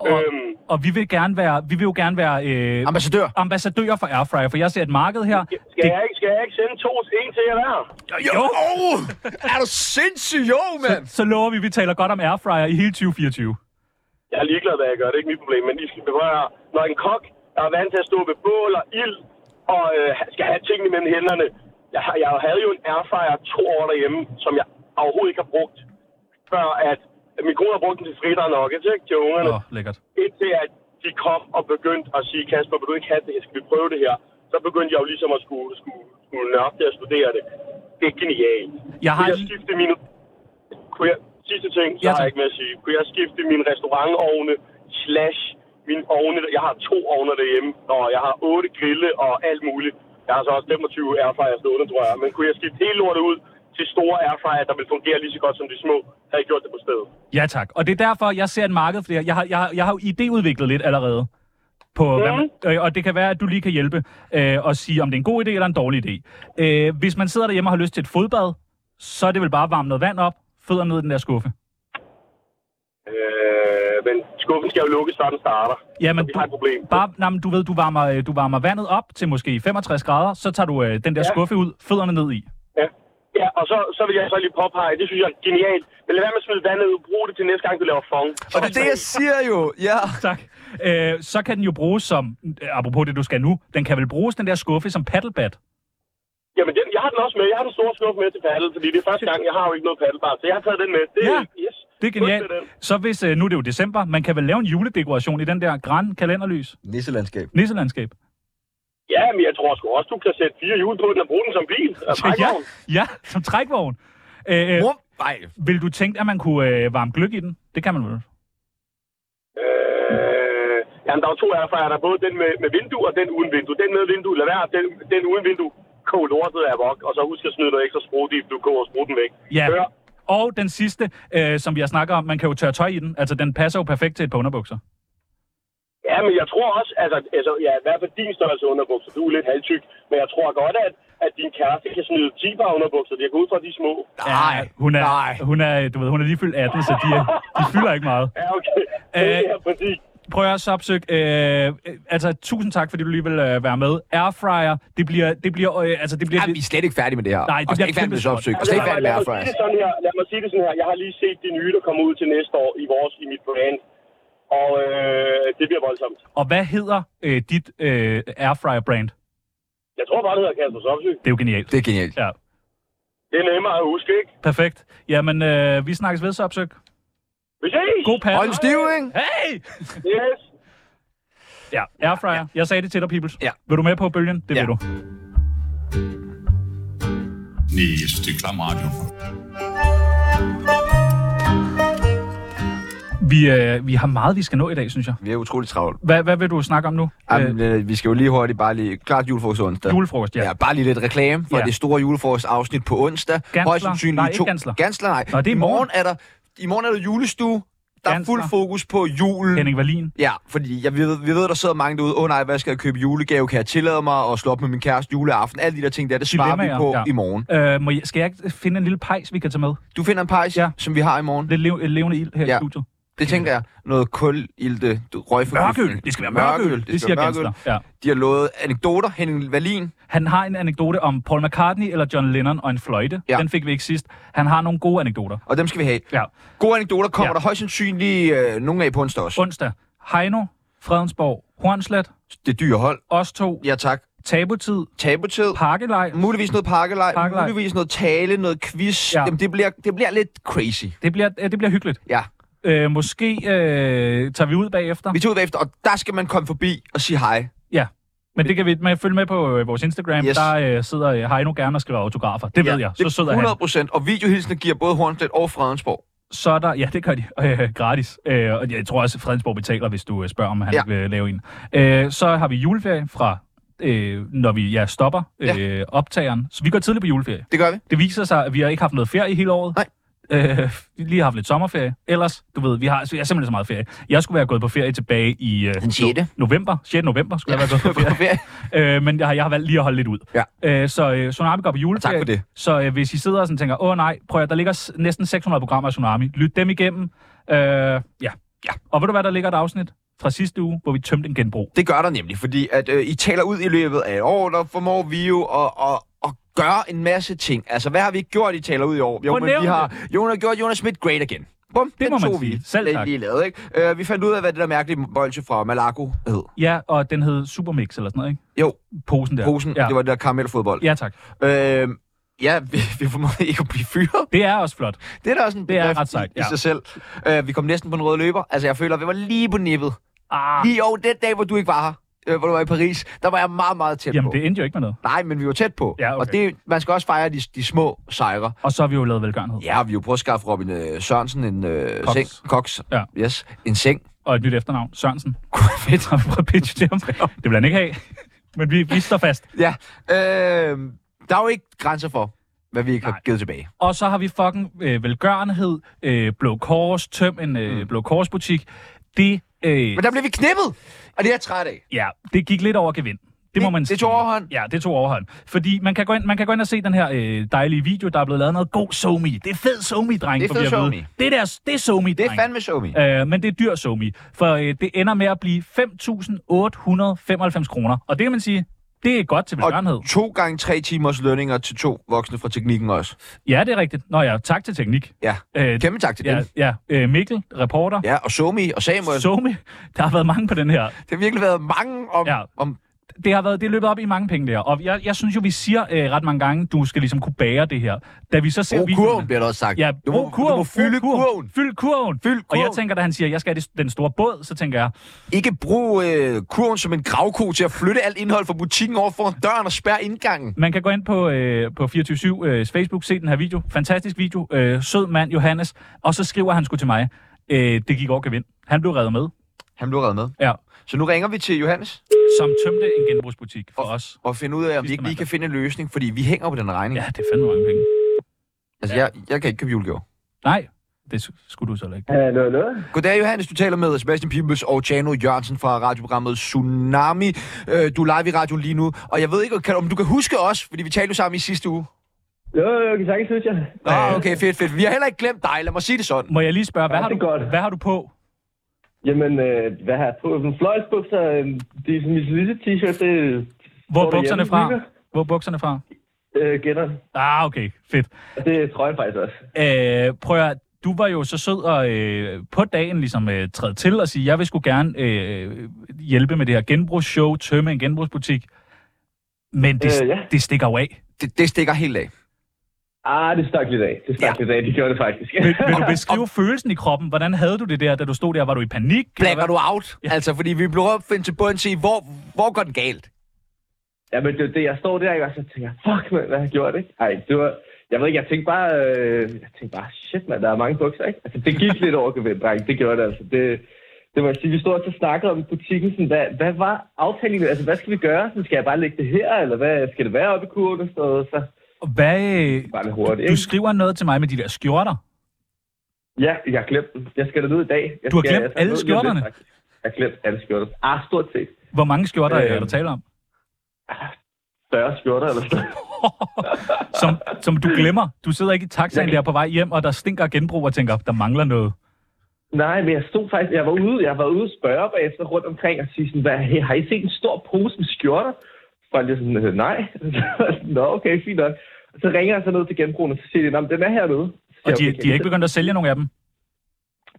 Og, øhm. og vi vil gerne være, vi vil jo gerne være øh,
Ambassadør.
ambassadører for Airfryer, for jeg ser et marked her.
Skal, jeg ikke, skal jeg ikke sende to, en til jer hver?
Jo! er du sindssyg, jo, mand!
Så lover vi, at vi taler godt om Airfryer i hele 2024.
Jeg er ligeglad, hvad jeg gør. Det er ikke mit problem. Men I skal berøre, når en kok, der er vant til at stå ved bål og ild, og øh, skal have tingene mellem hænderne. Jeg, har- jeg havde jo en airfryer to år derhjemme, som jeg overhovedet ikke har brugt, før at min kone har brugt den til fritter og nuggets, ikke? Til ungerne.
Åh, oh, lækkert.
Indtil at de kom og begyndte at sige, Kasper, vil du ikke have det? Skal vi prøve det her? Så begyndte jeg jo ligesom at skulle, skulle, skulle nørde det og studere det. Det er genialt.
Jeg har
Kunne jeg
lige-
skifte mine... Kunne jeg... Sidste ting, så
Ja,
ja,
tak.
har jeg ikke med at sige. Kunne jeg skifte mine restaurantovne slash mine ovne... Jeg har to ovne derhjemme, og jeg har otte grille og alt muligt. Jeg har så også 25 airfryer stående, tror jeg. Men kunne jeg skifte hele lortet ud til store airfryer, der vil fungere lige så godt som de små, havde jeg gjort det på stedet.
Ja tak. Og det er derfor, jeg ser et marked for det her. Jeg har, jeg har, jeg har jo idéudviklet lidt allerede. På, mm. hvad man, øh, og det kan være, at du lige kan hjælpe øh, og sige, om det er en god idé eller en dårlig idé. Øh, hvis man sidder derhjemme og har lyst til et fodbad, så er det vel bare at varme noget vand op, fødder ned i den der skuffe.
Øh, men skuffen skal jo lukkes, før den starter.
Jamen,
Så vi har et problem.
Bare, nej, men du ved, du varmer, øh, du varmer vandet op til måske 65 grader, så tager du øh, den der ja.
Ja.
skuffe ud, fødderne ned i.
Ja. ja, og og så, så vil jeg så lige påpege, det synes jeg er genialt. Men lad være med at smide vandet ud, brug det til næste gang, du laver fong.
Og det er det, jeg siger jo. Ja.
Tak. Øh, så kan den jo bruges som, øh, apropos det, du skal nu, den kan vel bruges, den der skuffe, som paddlebat.
Jamen, den, jeg har den også med. Jeg har den store skuffe med til paddel, fordi det er første gang, jeg har jo ikke noget paddelbar, så jeg har taget den med. Det er,
Ja.
yes.
Det er genialt.
Husk det, den.
Så hvis, øh, nu er det jo december, man kan vel lave en juledekoration i den der gran kalenderlys,
Nisselandskab.
nisselandskab.
Ja, men jeg tror sgu også, du kan sætte fire hjul på den og bruge den som bil. Altså, Og
ja,
trækvogn.
<laughs> ja, som trækvogn. Øh, øh,
Mor, nej.
vil du tænke, at man kunne øh, varme gløk i den? Det kan man vel.
Øh, jamen, der er jo to af jer, der er både den med, med vindue og den uden vindue. Den med vindue, lad være, den, den uden vindue, kog lortet af vok, og så husk at snyde noget ekstra sprut i, du koger spruten væk.
Ja.
Hør,
Og den sidste, øh, som vi har snakket om, man kan jo tørre tøj i den. Altså, den passer jo perfekt til et par underbukser.
Ja, men jeg tror også, altså, altså ja, i hvert fald din størrelse underbukser, du er lidt halvtyk, men jeg tror godt, at, at din kæreste kan snide 10 par underbukser, jeg går ud fra, at de er små.
Nej, hun er,
nej.
Hun er, du ved, hun er lige fyldt 18, så de, er, de fylder ikke meget.
Ja, okay.
Øh.
Øh... Det er præcis.
Prøv at høre, Sopsøk, øh, øh, altså tusind tak, fordi du lige vil øh, være med. Airfryer, det bliver, det bliver, øh, altså det bliver...
Ja, vi er slet ikke færdige med det her.
Nej, det
og slet
bliver
ikke færdige med
kæmpe
sopsøg. Og
Altså,
slet
lad,
ikke færdige med
lad, mig sige
airfryer.
det sådan her, lad mig sige det sådan her. Jeg har lige set de nye, der kommer ud til næste år i vores, i mit brand. Og øh, det bliver voldsomt.
Og hvad hedder øh, dit øh, Airfryer-brand?
Jeg tror bare, det hedder Kasper Sopsø.
Det er jo genialt.
Det er genialt.
Ja,
Det er nemmere at huske, ikke?
perfekt. Jamen, øh, vi snakkes ved, Sopsøk.
Vi ses!
God paddel.
Hold stiv, ikke?
Hey!
Yes!
Ja, Airfryer. Jeg sagde det til dig, Peoples.
Ja.
Vil du med på bølgen? Det
Ja.
vil du.
Nej, jeg synes, det er klam radio.
Vi, øh, vi har meget, vi skal nå i dag, synes jeg.
Vi er utrolig travlt.
Hvad, hvad vil du snakke om nu?
Jamen, øh, vi skal jo lige hurtigt bare lige... Klart julefrokost onsdag.
julefrokost, ja.
Ja, bare lige lidt reklame for
Ja.
ja. det store julefrokostafsnit på onsdag.
Gansler?
Højst sandsynligt
Nej,
i
ikke
to...
Gansler.
Gansler, nej.
Nå, det er i
I
morgen.
morgen er der, i morgen er der julestue. Der er
Gansler.
fuld fokus på julen.
Henning Wallin.
Ja, fordi jeg, vi, ved, vi ved, der sidder mange derude, åh oh, nej, hvad skal jeg købe julegave, kan jeg tillade mig at slå op med min kæreste juleaften, alle de der ting der, det svarer vi
Dilemmaer,
på
ja.
ja. i morgen.
Øh, må jeg, skal jeg ikke finde en lille pejs, vi kan tage med?
Du finder en pejs,
Ja.
ja. som vi har i morgen.
Lidt lev, levende ild her ja. i
Ja.
studiet.
Det tænker jeg. Noget kul, ilte, røgforgiftning.
Mørkøl. Det skal være mørkøl.
Det,
det
skal
siger
være mørkøl.
Gansler. Ja.
De har lovet anekdoter. Henning Wallin.
Han har en anekdote om Paul McCartney eller John Lennon og en fløjte. Ja.
Ja.
Den fik vi ikke sidst. Han har nogle gode anekdoter.
Og dem skal vi have.
Ja.
Gode anekdoter kommer
Ja.
ja. der højst sandsynligt øh, nogle af på onsdag også.
Onsdag. Heino, Fredensborg, Hornslet,
Det dyre hold.
os to, ja.
Ja tak.
tabutid,
Tabutid.
pakkelej.
Muligvis noget pakkelej,
Pakkelej.
muligvis noget tale, noget quiz.
Ja.
Ja. Jamen, det, bliver, det bliver lidt crazy.
Det bliver, øh, det bliver hyggeligt.
Ja.
Øh, måske øh, tager vi ud bagefter.
Vi tager ud bagefter, og der skal man komme forbi og sige hej.
Ja, men det kan vi med, følge med på øh, vores Instagram. Yes.
Yes.
Der øh, sidder øh, Heino gerne og skriver autografer. Det ja, ved jeg. Så sød er han.
100 procent. Og videohilsen giver både Hornslet og Fredensborg.
Så er der, ja, det gør de øh, gratis. Øh, og jeg tror også, at Fredensborg betaler, hvis du øh, spørger, om han ja.
Ja.
vil lave en. Øh, så har vi juleferie fra, øh, når vi ja, stopper øh, optageren. Så vi går tidligt på juleferie.
Det gør vi.
Det viser sig, at vi har ikke haft noget ferie i hele året.
Nej.
Øh, vi har lige har haft lidt sommerferie. Ellers, du ved, vi har, vi har simpelthen så meget ferie. Jeg skulle være gået på ferie tilbage i øh,
Den sjette.
no- november. 6. november skulle ja. jeg være gået på ferie. Øh, men jeg har, jeg har valgt lige at holde lidt ud.
Ja.
Øh, så øh, Tsunami går på juleferie.
Og tak for det.
Så øh, hvis I sidder og sådan tænker, åh nej, prøv at der ligger s- næsten 600 programmer af Tsunami. Lyt dem igennem. Øh, ja. ja. Og ved du hvad, der ligger et afsnit fra sidste uge, hvor vi tømte en genbrug.
Det gør der nemlig, fordi at øh, I taler ud i løbet af et år, der formår vi jo at, at, at gøre en masse ting. Altså, hvad har vi ikke gjort, I taler ud i år?
Prøv
Jo,
at
men vi
nævne
har Jonas gjort Jonas Schmidt great again. Bum,
Det
den
må man
tog
sige.
vi
Selv
lige-
tak.
lige lavet, ikke? Øh, vi fandt ud af, hvad det der mærkelige bolche fra Malaco hed.
Ja, og den hed Supermix eller sådan noget, ikke?
Jo,
Posen der.
posen,
ja.
det var det der karamelfodbold.
Ja, tak.
Øh, ja, <laughs> vi, vi formåede ikke at blive fyret.
Det er også flot.
Det er da også en
Det er
bedrift
ret sejt,
i,
ja.
i sig selv. Øh, vi kom næsten på en rød løber. Altså, jeg føler, at vi var lige på nippet.
Ah,
Lige over den dag, hvor du ikke var her, øh, hvor du var i Paris, der var jeg meget, meget tæt
jamen,
på.
det endte jo ikke med noget.
Nej, men vi var tæt på.
Ja, okay.
Og det, man skal også fejre de, de små sejre.
Og så har vi jo lavet velgørenhed.
Ja, og vi har jo prøvet at skaffe Robin øh, Sørensen en øh,
Cox.
seng. Cox.
Ja.
Yes, en seng.
Og et nyt efternavn, Sørensen. <laughs> Fedt. Har vi prøvet at pitche det om? Det vil han ikke have. <laughs> Men vi, vi står fast.
Ja, øh, der er jo ikke grænser for, hvad vi ikke
Nej.
har givet tilbage.
Og så har vi fucking øh, velgørenhed, øh, Blå Kors, tøm en øh, Blå Kors butik. Det, øh,
Mm. Men der blev vi knippet, og det er jeg træt af.
ja, det gik lidt over gevind. Det, må
Det-
man
det
sige.
tog overhånd.
Ja, det tog overhånd. Fordi man kan gå ind, man kan gå ind og se den her øh, dejlige video, der er blevet lavet noget god somi. Det er fed somi, dreng.
Det er
får vi
fed
at vide.
somi.
Det, der, det er somi,
Det er fandme show me.
Øh, men det er dyr somi. For øh, det ender med at blive 5.895 kroner. Og det kan man sige, Det er godt til velgørenhed.
Og to gange tre timers lønninger til to voksne fra teknikken også.
Ja, det er rigtigt. Nå ja, tak til teknik.
Ja,
Øh,
kæmpe tak til
ja,
dem.
ja. Øh, Mikkel, reporter.
Ja, og Somi og Samuel.
Somi, der har været mange på den her.
Det har virkelig været mange om...
Ja.
om
Det har været, det er løbet op i mange penge der. Og jeg, jeg synes jo, vi siger øh, ret mange gange, du skal ligesom kunne bære det her. Da vi så ser
brug kurven,
videoerne-
bliver der også sagt.
Ja,
du, må,
brug kurven,
du må fylde
brug
kurven.
Fyld kurven.
Fyld
Og jeg
kurven.
tænker, da han siger, jeg skal have det- den store båd, så tænker jeg,
Ikke brug øh, kurven som en gravko til at flytte alt indhold fra butikken over foran døren og spærre indgangen.
Man kan gå ind på, øh, på 24 øh, Facebook, se den her video. Fantastisk video. Øh, sød mand, Johannes. Og så skriver han sgu til mig, øh, det gik over gevind. Han blev reddet med,
Han blev reddet med.
ja,
Så nu ringer vi til Johannes
som tømte en genbrugsbutik for os.
og finder ud af, om vi
Sidste
ikke lige
mandag.
kan finde en løsning, fordi vi hænger på den regning.
Ja, det er fandme mange penge.
Altså, jeg, jeg kan ikke købe julegaver.
Nej, det s- skulle du så heller ikke.
Hallo, hallo.
Goddag, Johannes. Du taler med Sebastian Pibels og Tjano Jørgensen fra radioprogrammet Tsunami. Øh, Du er live i radio lige nu, og jeg ved ikke, kan- om du kan huske os, fordi vi talte jo sammen i sidste uge.
Jo, jo, kan sagtens, synes jeg.
Nå, okay, fedt, fedt. Vi har heller ikke glemt dig, lad mig sige det sådan.
Må jeg lige spørge, hvad,
Ja,
har
det
du,
er godt.
hvad har du på?
Jamen, øh, hvad har jeg på? Sådan fløjlsbukser, øh, det er sådan min lille t-shirt, det Står
Hvor er
du
bukserne
hjemme,
fra?
Mika?
Hvor er bukserne fra?
øh, gætter.
Ah, okay, fedt.
Og det er trøjen faktisk også.
Øh, prøv at, høre, du var jo så sød og øh, på dagen ligesom øh, træde til og sige, jeg vil sgu gerne øh, hjælpe med det her genbrugsshow, tømme en genbrugsbutik. Men det,
Øh,
øh, ja.
ja.
det stikker jo af.
Det, det stikker helt af.
Ah, det stak lidt af. Det stak lidt af. De gjorde det faktisk.
Vil, vil
<laughs>
du beskrive følelsen i kroppen? Hvordan havde du det der, da du stod der? Var du i panik?
Blacker
eller
du out? Altså, fordi vi blev opfindt til bunden til, hvor, hvor går den galt?
ja, men det er jo det. Jeg står der, ikke? og så tænker jeg, fuck, mand, hvad har jeg gjort, ikke? Ej, det var... Jeg ved ikke, jeg tænkte bare, øh, jeg tænkte bare, shit, mand, der er mange bukser, ikke? Altså, det gik lidt over gevind, dreng. Det gjorde det, altså. Det, det må jeg sige. Vi stod også og snakkede om i butikken, sådan, hvad, hvad var aftalen? Altså, hvad skal vi gøre? Så skal jeg bare lægge det her, eller hvad skal det være oppe i kurven? Og sådan noget? så
hvad? Hvad, øh,
bare lidt hurtigt,
du
ikke?
skriver noget til mig med de der skjorter.
Ja, jeg har glemt dem. Jeg skal derned i dag. Jeg
Du har
skal,
glemt
jeg skal
alle
ned lige om
skjorterne?
lidt, faktisk. Jeg har glemt alle skjorterne. Ah, stort set.
Hvor mange skjorter øh,
Øh.
er der tale om?
Større skjorter eller sådan noget.
Som, som du glemmer. Du sidder ikke i taxaen
Jeg kan-
der på vej hjem, og der stinker af genbrug og tænker, der mangler noget.
Nej, men jeg stod faktisk, jeg var ude, jeg var ude og spørge bagefter rundt omkring og sige sådan, hvad, hey, har I set en stor pose med skjorter? Folk er sådan, "Øh, nej. <laughs> Nå, okay, fint nok. Og så ringer jeg så ned til genbrugen, og så siger de, "Nå, men den er hernede. Så siger
Og de,
jeg, "Okay,
de er ikke begyndt at sælge nogen af dem.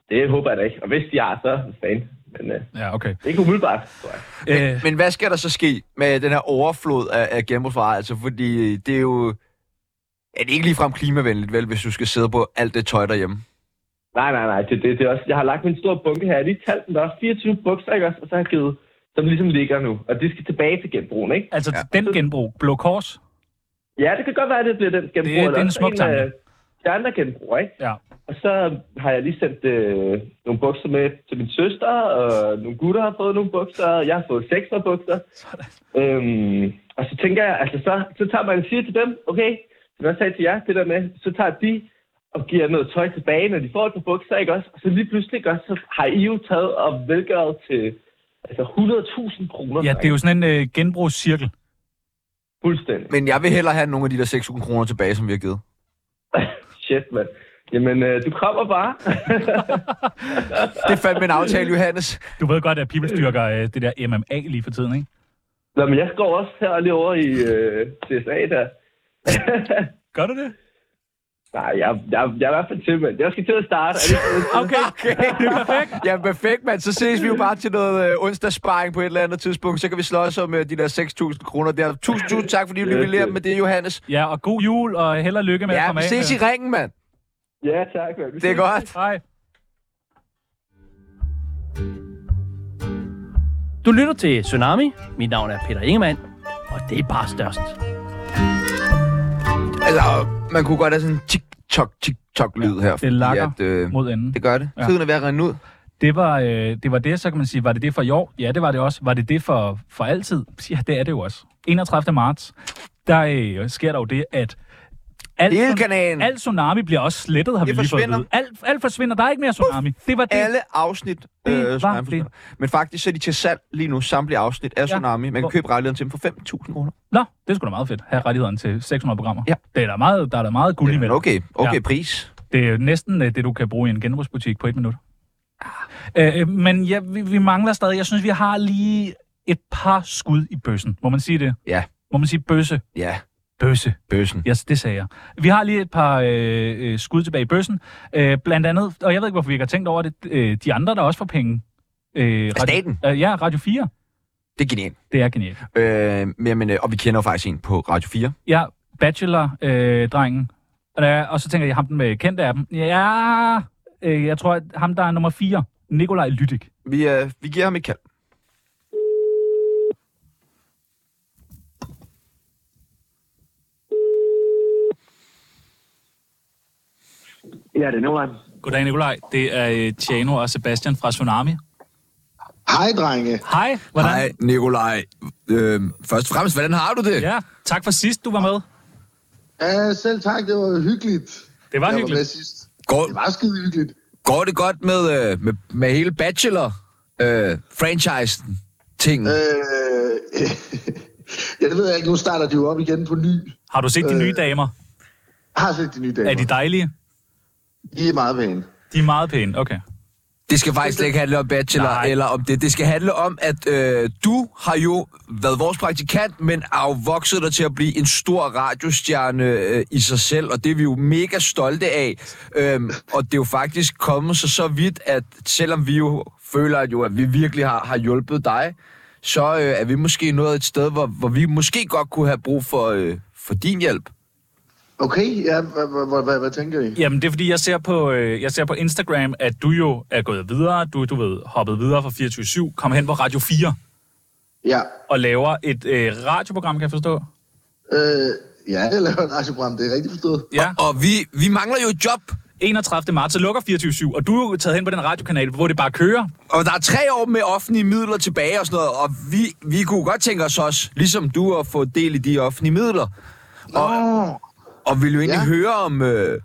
Det håber jeg da ikke. Og hvis de har, så er fan. Men øh,
Ja, okay.
det er ikke umiddelbart, tror jeg.
Øh,
Men hvad skal der så ske med den her overflod af, af genbrugsvarer? Altså, fordi det er jo... Er det ikke ligefrem klimavenligt, vel, hvis du skal sidde på alt det tøj derhjemme?
Nej, nej, nej. Det, det, det er også, jeg har lagt min store bunke her. Jeg har lige talt den. Der er 24 bukser, ikke også? Og så har jeg givet, som ligesom ligger nu. Og de skal tilbage til genbrugen, ikke?
altså, ja. den genbrug, Blå Kors,
Ja, det kan godt være, at det bliver den genbrug.
Det- det er
eller
en
også
smuk tanke.
af De andre genbruger, ikke?
Ja.
Og så har jeg lige sendt øh, nogle bukser med til min søster, og nogle gutter har fået nogle bukser, og jeg har fået seks par bukser. Øhm, og så tænker jeg, altså så, så tager man og siger til dem, okay, som jeg sagde til jer, det der med, så tager de og giver noget tøj tilbage, når de får et par bukser, ikke også? Og så lige pludselig, ikke også, så har I jo taget og velgøret til altså 100.000 kroner.
ja, det er jo sådan en øh, genbrugscirkel.
Fuldstændig.
Men jeg vil hellere have nogle af de der 6.000 kroner tilbage, som vi har givet.
Shit, mand. Jamen, øh, du kommer bare.
Det er fandme en aftale, Johannes.
Du ved godt, at people styrker øh, det der MMA lige for tiden, ikke?
Nå, men jeg går også her lige over i øh, CSA der.
Gør du det?
Nej, jeg, jeg, jeg er i hvert fald til, men jeg skal til at starte. Er det ikke noget?
Okay,
<laughs>
det <laughs> er perfekt.
Ja, perfekt, mand. Så ses vi jo bare til noget øh, onsdagssparing på et eller andet tidspunkt. Så kan vi slås om øh, de der 6.000 kroner der. Tusind, tusind tak, fordi du
Yes,
yes, leverer
yes.
dem med det, Johannes.
Ja, og god jul, og held og lykke med at
Ja,
komme
vi
af.
ses i
med-
ringen, mand.
ja, tak. mand. Vi
Det er
ses.
godt.
Hej.
Du lytter til Tsunami. Mit navn er Peter Ingemann, og det er bare størst.
Altså, man kunne godt have sådan en tik-tok, tik-tok-lyd her. fordi
lakker
at, øh,
Mod enden.
det gør det.
Ja.
Tiden er ved at rende ud.
Det var, øh, det var det, så kan man sige, var det det for i år? Ja, det var det også. Var det det for, for altid? Ja, det er det jo også. 31. marts, der øh, sker der jo det, at alt,
Elkanalen.
alt tsunami bliver også slettet, har
Det
vi lige fået at
forsvinder.
vide. Alt, alt forsvinder, der er ikke mere tsunami. Det var det.
Alle afsnit. øh,
Det var
som er
det.
forsvundet. Men faktisk så er de til salg lige nu, samtlige afsnit af Tsunami. Man
Hvor-
kan købe rettigheden til dem for 5.000 kroner.
Nå, det er sgu da meget fedt. Have rettigheden til 600 programmer.
Ja.
Det er der, meget, der er der meget guld imellem.
Okay, okay
Ja.
pris.
Det er jo næsten øh, det, du kan bruge i en genbrugsbutik på et minut. Øh, øh, men ja, vi, vi mangler stadig. Jeg synes, vi har lige et par skud i bøssen. Må man sige det?
Ja.
Må man sige bøsse?
Ja,
Bøsse.
bøssen.
Ja, yes, det sagde jeg. Vi har lige et par øh, øh, skud tilbage i bøssen. Øh, blandt andet, og jeg ved ikke, hvorfor vi ikke har tænkt over det, øh, de andre, der også får penge. Øh, radio,
staten?
Øh, ja, Radio 4.
Det er genialt.
Det er genialt.
Øh, jamen, øh, og vi kender jo faktisk en på Radio 4.
Ja, Bachelor-drengen. Øh, og så tænker jeg, ham den med kendte af dem. Ja, øh, jeg tror, at ham der er nummer 4, Nikolaj Lydik.
Vi, øh, vi giver ham et kald.
Ja, det er Nicolaj.
Goddag, Nikolaj. Det er øh, Tjano og Sebastian fra Tsunami.
Hej, drenge.
Hej, hvordan?
Hej, Nikolaj. Øh, først og fremmest, hvordan har du det?
Ja, tak for sidst, du var med.
Ja, selv tak, det var hyggeligt.
Det var
jeg Var med
hyggeligt.
sidst.
Går,
Det var skide hyggeligt.
går det godt med, øh, med, med hele øh, Bachelor-franchisen-tingen?
Øh, <laughs> ja, det ved jeg ikke. Nu starter de jo op igen på ny.
Har du set de
Øh,
nye damer?
Jeg har set de nye dage.
Er de dejlige?
de er meget pæne.
De er meget pæne, okay.
Det skal faktisk slet ikke handle om bachelor
Nej.
Nej. eller om det. Det skal handle om, at øh, du har jo været vores praktikant, men afvokset dig til at blive en stor radiostjerne øh, i sig selv, og det er vi jo mega stolte af. Øhm, og det er jo faktisk kommet så så vidt, at selvom vi jo føler, at, jo, at vi virkelig har, har hjulpet dig, så øh, er vi måske nået et sted, hvor, hvor vi måske godt kunne have brug for, øh, for din hjælp.
Okay, ja, hvad, hvad, hvad, hvad, hvad tænker I?
Jamen, det er fordi, jeg ser på, øh, jeg ser på Instagram, at du jo er gået videre. Du, du ved, hoppet videre fra 24-7, kom hen på Radio 4
Ja,
og laver et øh, radioprogram, kan jeg forstå.
øh, ja jeg laver et radioprogram, det er rigtigt forstået.
Ja.
Og vi, vi mangler jo et job,
31. marts, så lukker 24-7, og du er jo taget hen på den radiokanal, hvor det bare kører.
Og der er tre år med offentlige midler tilbage og sådan noget, og vi, vi kunne godt tænke os også, ligesom du, at få del i de offentlige midler.
Nå,
Og ville jo egentlig ja.
Ja.
høre, om, øh,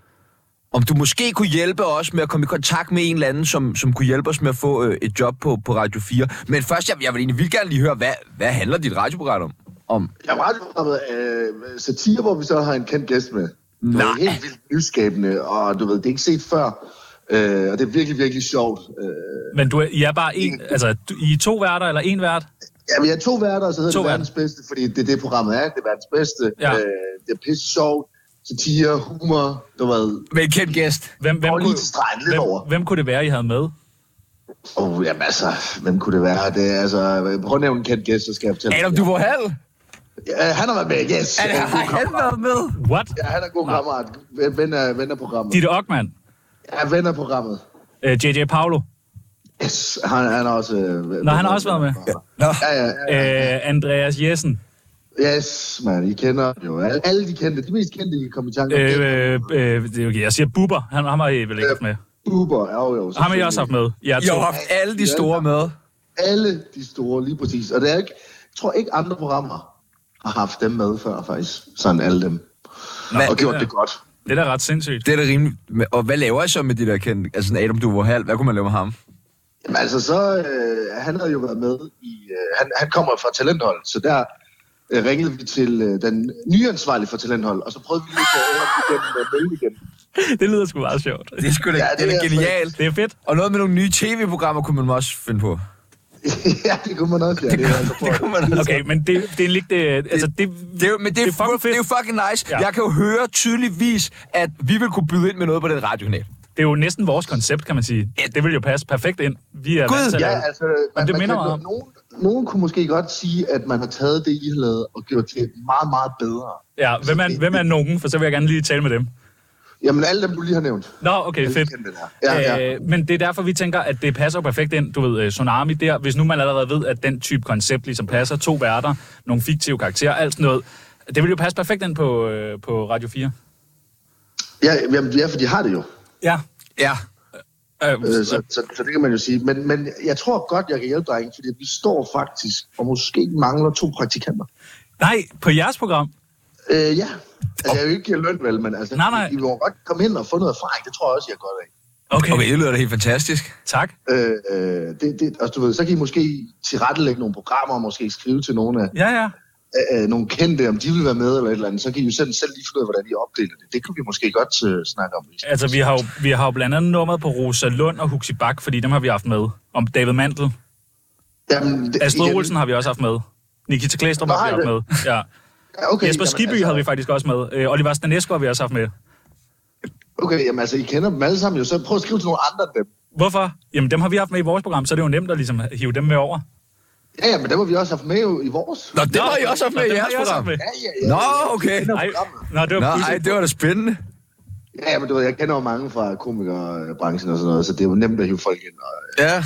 om du måske kunne hjælpe os med at komme i kontakt med en eller anden, som, som kunne hjælpe os med at få øh, et job på, på Radio 4. Men først, jeg, jeg vil egentlig vildt gerne lige høre, hvad, hvad handler dit radioprogram om? om?
jeg har radioprogrammet øh, satire, hvor vi så har en kendt gæst med. Det var
Nej.
helt vildt nyskabende, og du ved, det er ikke set før. Øh, og det er virkelig, virkelig sjovt. Øh,
Men du er, I er bare en, altså, du, I er to værter eller en vært.
Ja, vi har to værter, og så hedder
To
det verdens bedste, fordi det er det, programmet er. Det er verdens bedste.
Ja.
Øh, det er pisse sjovt, satire, humor, du ved.
Med en kendt gæst.
Hvem, hvem,
Og lige
kunne,
til stregen, lidt over.
hvem, hvem kunne det være, I havde med?
Oh, jamen altså, hvem kunne det være? Det er, altså, prøv at nævne en kendt gæst, så skal jeg fortælle.
Adam, du var halv.
Ja, han har været med, yes.
Er det,
han, er
har
en god
han
kammerat.
været med?
What?
Ja, han er en god kammerat. Ven- Ven af, ven af programmet.
Ditte Ockmann,
Ja, ven af programmet.
øh, JJ Paolo,
Yes, han, han er også... Øh,
Nå, han har også været med.
Nå,
Ja, ja, ja.
øh, Andreas Jessen,
Yes, man, I kender jo alle, alle de kendte. De mest kendte, I kan komme i tanke om.
øh,
Øh,
øh, øh, det er okay, jeg siger Bubber, han, ham har I vel ikke haft med.
Uber, jo, jo.
Ham har I også haft med, jer
I har jo
to.
haft alle de store med.
alle de store, lige præcis. Og det er ikke, jeg tror ikke andre programmer har haft dem med før, faktisk. Sådan alle dem. Nå, og gjort det godt.
Det er da ret sindssygt. <laughs>
Det er da rimeligt. Og hvad laver I så med de der kendte? Altså, Adam, du var halv. Hvad kunne man lave med ham?
Jamen, altså, så, øh, han havde jo været med i... Øh, han, han kommer fra Talenthold, så der øh, ringede vi til øh, den nye ansvarlige for Talenthold, og så prøvede vi lige at få Adam igennem med mail igen. <laughs>
Det lyder sgu meget sjovt.
Det er sgu da,
Ja,
ja, det,
det
det er
er
da genialt.
Det er fedt.
Og noget med nogle nye tv-programmer kunne man også finde på.
ja, det kunne man også, ja. Det, er altså, for-
Okay, men det, det er lidt... Det, altså, det,
Det er, jo- men det er, det, er fucking det er jo fucking nice.
Ja.
Ja. Jeg kan jo høre tydeligvis, at vi vil kunne byde ind med noget på den radiokanal.
Det er jo næsten vores koncept, kan man sige.
Ja.
Det vil jo passe perfekt ind. Vi er
Gud,
vant til at
Ja,
lave-
altså, man,
det
man
minder
kan,
mig om-
nogen, nogen kunne måske godt sige, at man har taget det, I har lavet, og gjort det meget, meget bedre.
ja, hvem, er, hvem er nogen? For så vil jeg gerne lige tale med dem.
Jamen, alle dem, du lige har nævnt.
Nå, okay, fedt.
Kendte der. Ja, ja.
Øh, men det er derfor, vi tænker, at det passer jo perfekt ind, du ved, øh, Tsunami der. Hvis nu man allerede ved, at den type koncept ligesom passer, to værter, nogle fiktive karakterer, alt sådan noget, det vil jo passe perfekt ind på, øh, på Radio 4.
Ja, jamen, ja, for de har det jo.
Ja.
Ja.
Øh,
Øh, Så, så, så det kan man jo sige. Men, men jeg tror godt, jeg kan hjælpe dig, fordi vi står faktisk og måske mangler to praktikanter.
nej, på jeres program.
Øh, ja. Altså, jeg vil ikke give løn, vel, men altså,
Nej, nej.
I, I må godt komme hen og få noget erfaring. Det tror jeg også, jeg er godt af.
Okay,
Okay, det lyder da helt fantastisk.
tak.
Øh, øh, det, det, og du ved, så kan I måske tilrettelægge nogle programmer, og måske skrive til nogle, af,
Ja, ja.
øh, øh, nogle kendte, om de vil være med eller et eller andet. Så kan I jo selv, selv lige finde ud af, hvordan I opdeler det. Det kunne vi måske godt øh, snakke om. hvis-
Altså, vi har jo, vi har jo blandt andet nummeret på Rosa Lund og Huxi Bak, fordi dem har vi haft med. Om David Mantel.
Jamen, det,
Astrid
igen-
Olsen har vi også haft med. Nikita Klæstrup
Nå,
har vi
har I
haft med. Ja.
Ja, <laughs> okay,
Jesper
jamen,
Skibby
altså-
havde vi faktisk også med. Øh, Oliver Stanesco har vi også haft med.
Okay, jamen altså, I kender dem alle sammen jo, så prøv at skrive til nogle andre end dem.
Hvorfor? Jamen, dem har vi haft med i vores program, så det er jo nemt at ligesom, hive dem med over.
Ja, ja, men dem har vi også haft med jo i vores.
Nå, dem har I også haft med i jeres program.
Ja, ja, ja.
Nå,
okay.
Jeg kender
Ej,
programmet.
Nå, det var
Nå,
pudsigt.
ej, det var da spændende.
Ja, men du ved, jeg kender jo mange fra komikerbranchen og sådan noget, så det er jo nemt at hive folk ind. Og,
Ja.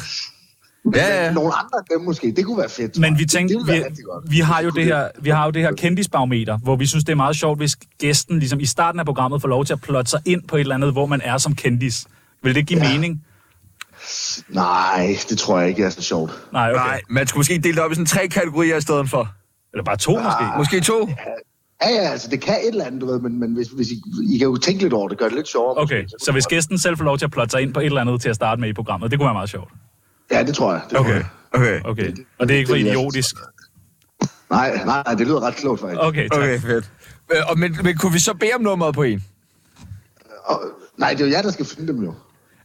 ja, ja. Nogle andre af dem måske, det kunne være fedt. tror
Men
jeg.
vi
Det-
tænkte,
det ville være
vi,
rigtig godt.
vi, har jo
Kunne
det her, vi har jo det her kendisbarometer, hvor vi synes, det er meget sjovt, hvis gæsten ligesom i starten af programmet får lov til at plotte sig ind på et eller andet, hvor man er som kendis. Vil det give ja. mening?
Nej, det tror jeg ikke er så sjovt.
Nej, okay.
Nej, man skulle måske dele det op i sådan tre kategorier i stedet for.
Eller bare to, måske.
Ah.
Måske to?
Ja, ja, altså det kan et eller andet, du ved, men, men hvis, hvis I, I kan jo tænke lidt over det, gør det lidt sjovere.
Okay, så hvis gæsten selv får lov til at plotte sig ind på et eller andet til at starte med i programmet, det kunne være meget sjovt.
Ja, det tror jeg. Det tror
Okay.
jeg.
Okay.
Okay, og det er ikke for
Det er jeg-
idiotisk.
Nej, nej, nej, det lyder ret klogt faktisk.
Okay, tak.
Okay, fedt. Øh, og men, men kunne vi så bede om nummeret på en?
Og, nej, det er jo jer, der skal finde dem jo.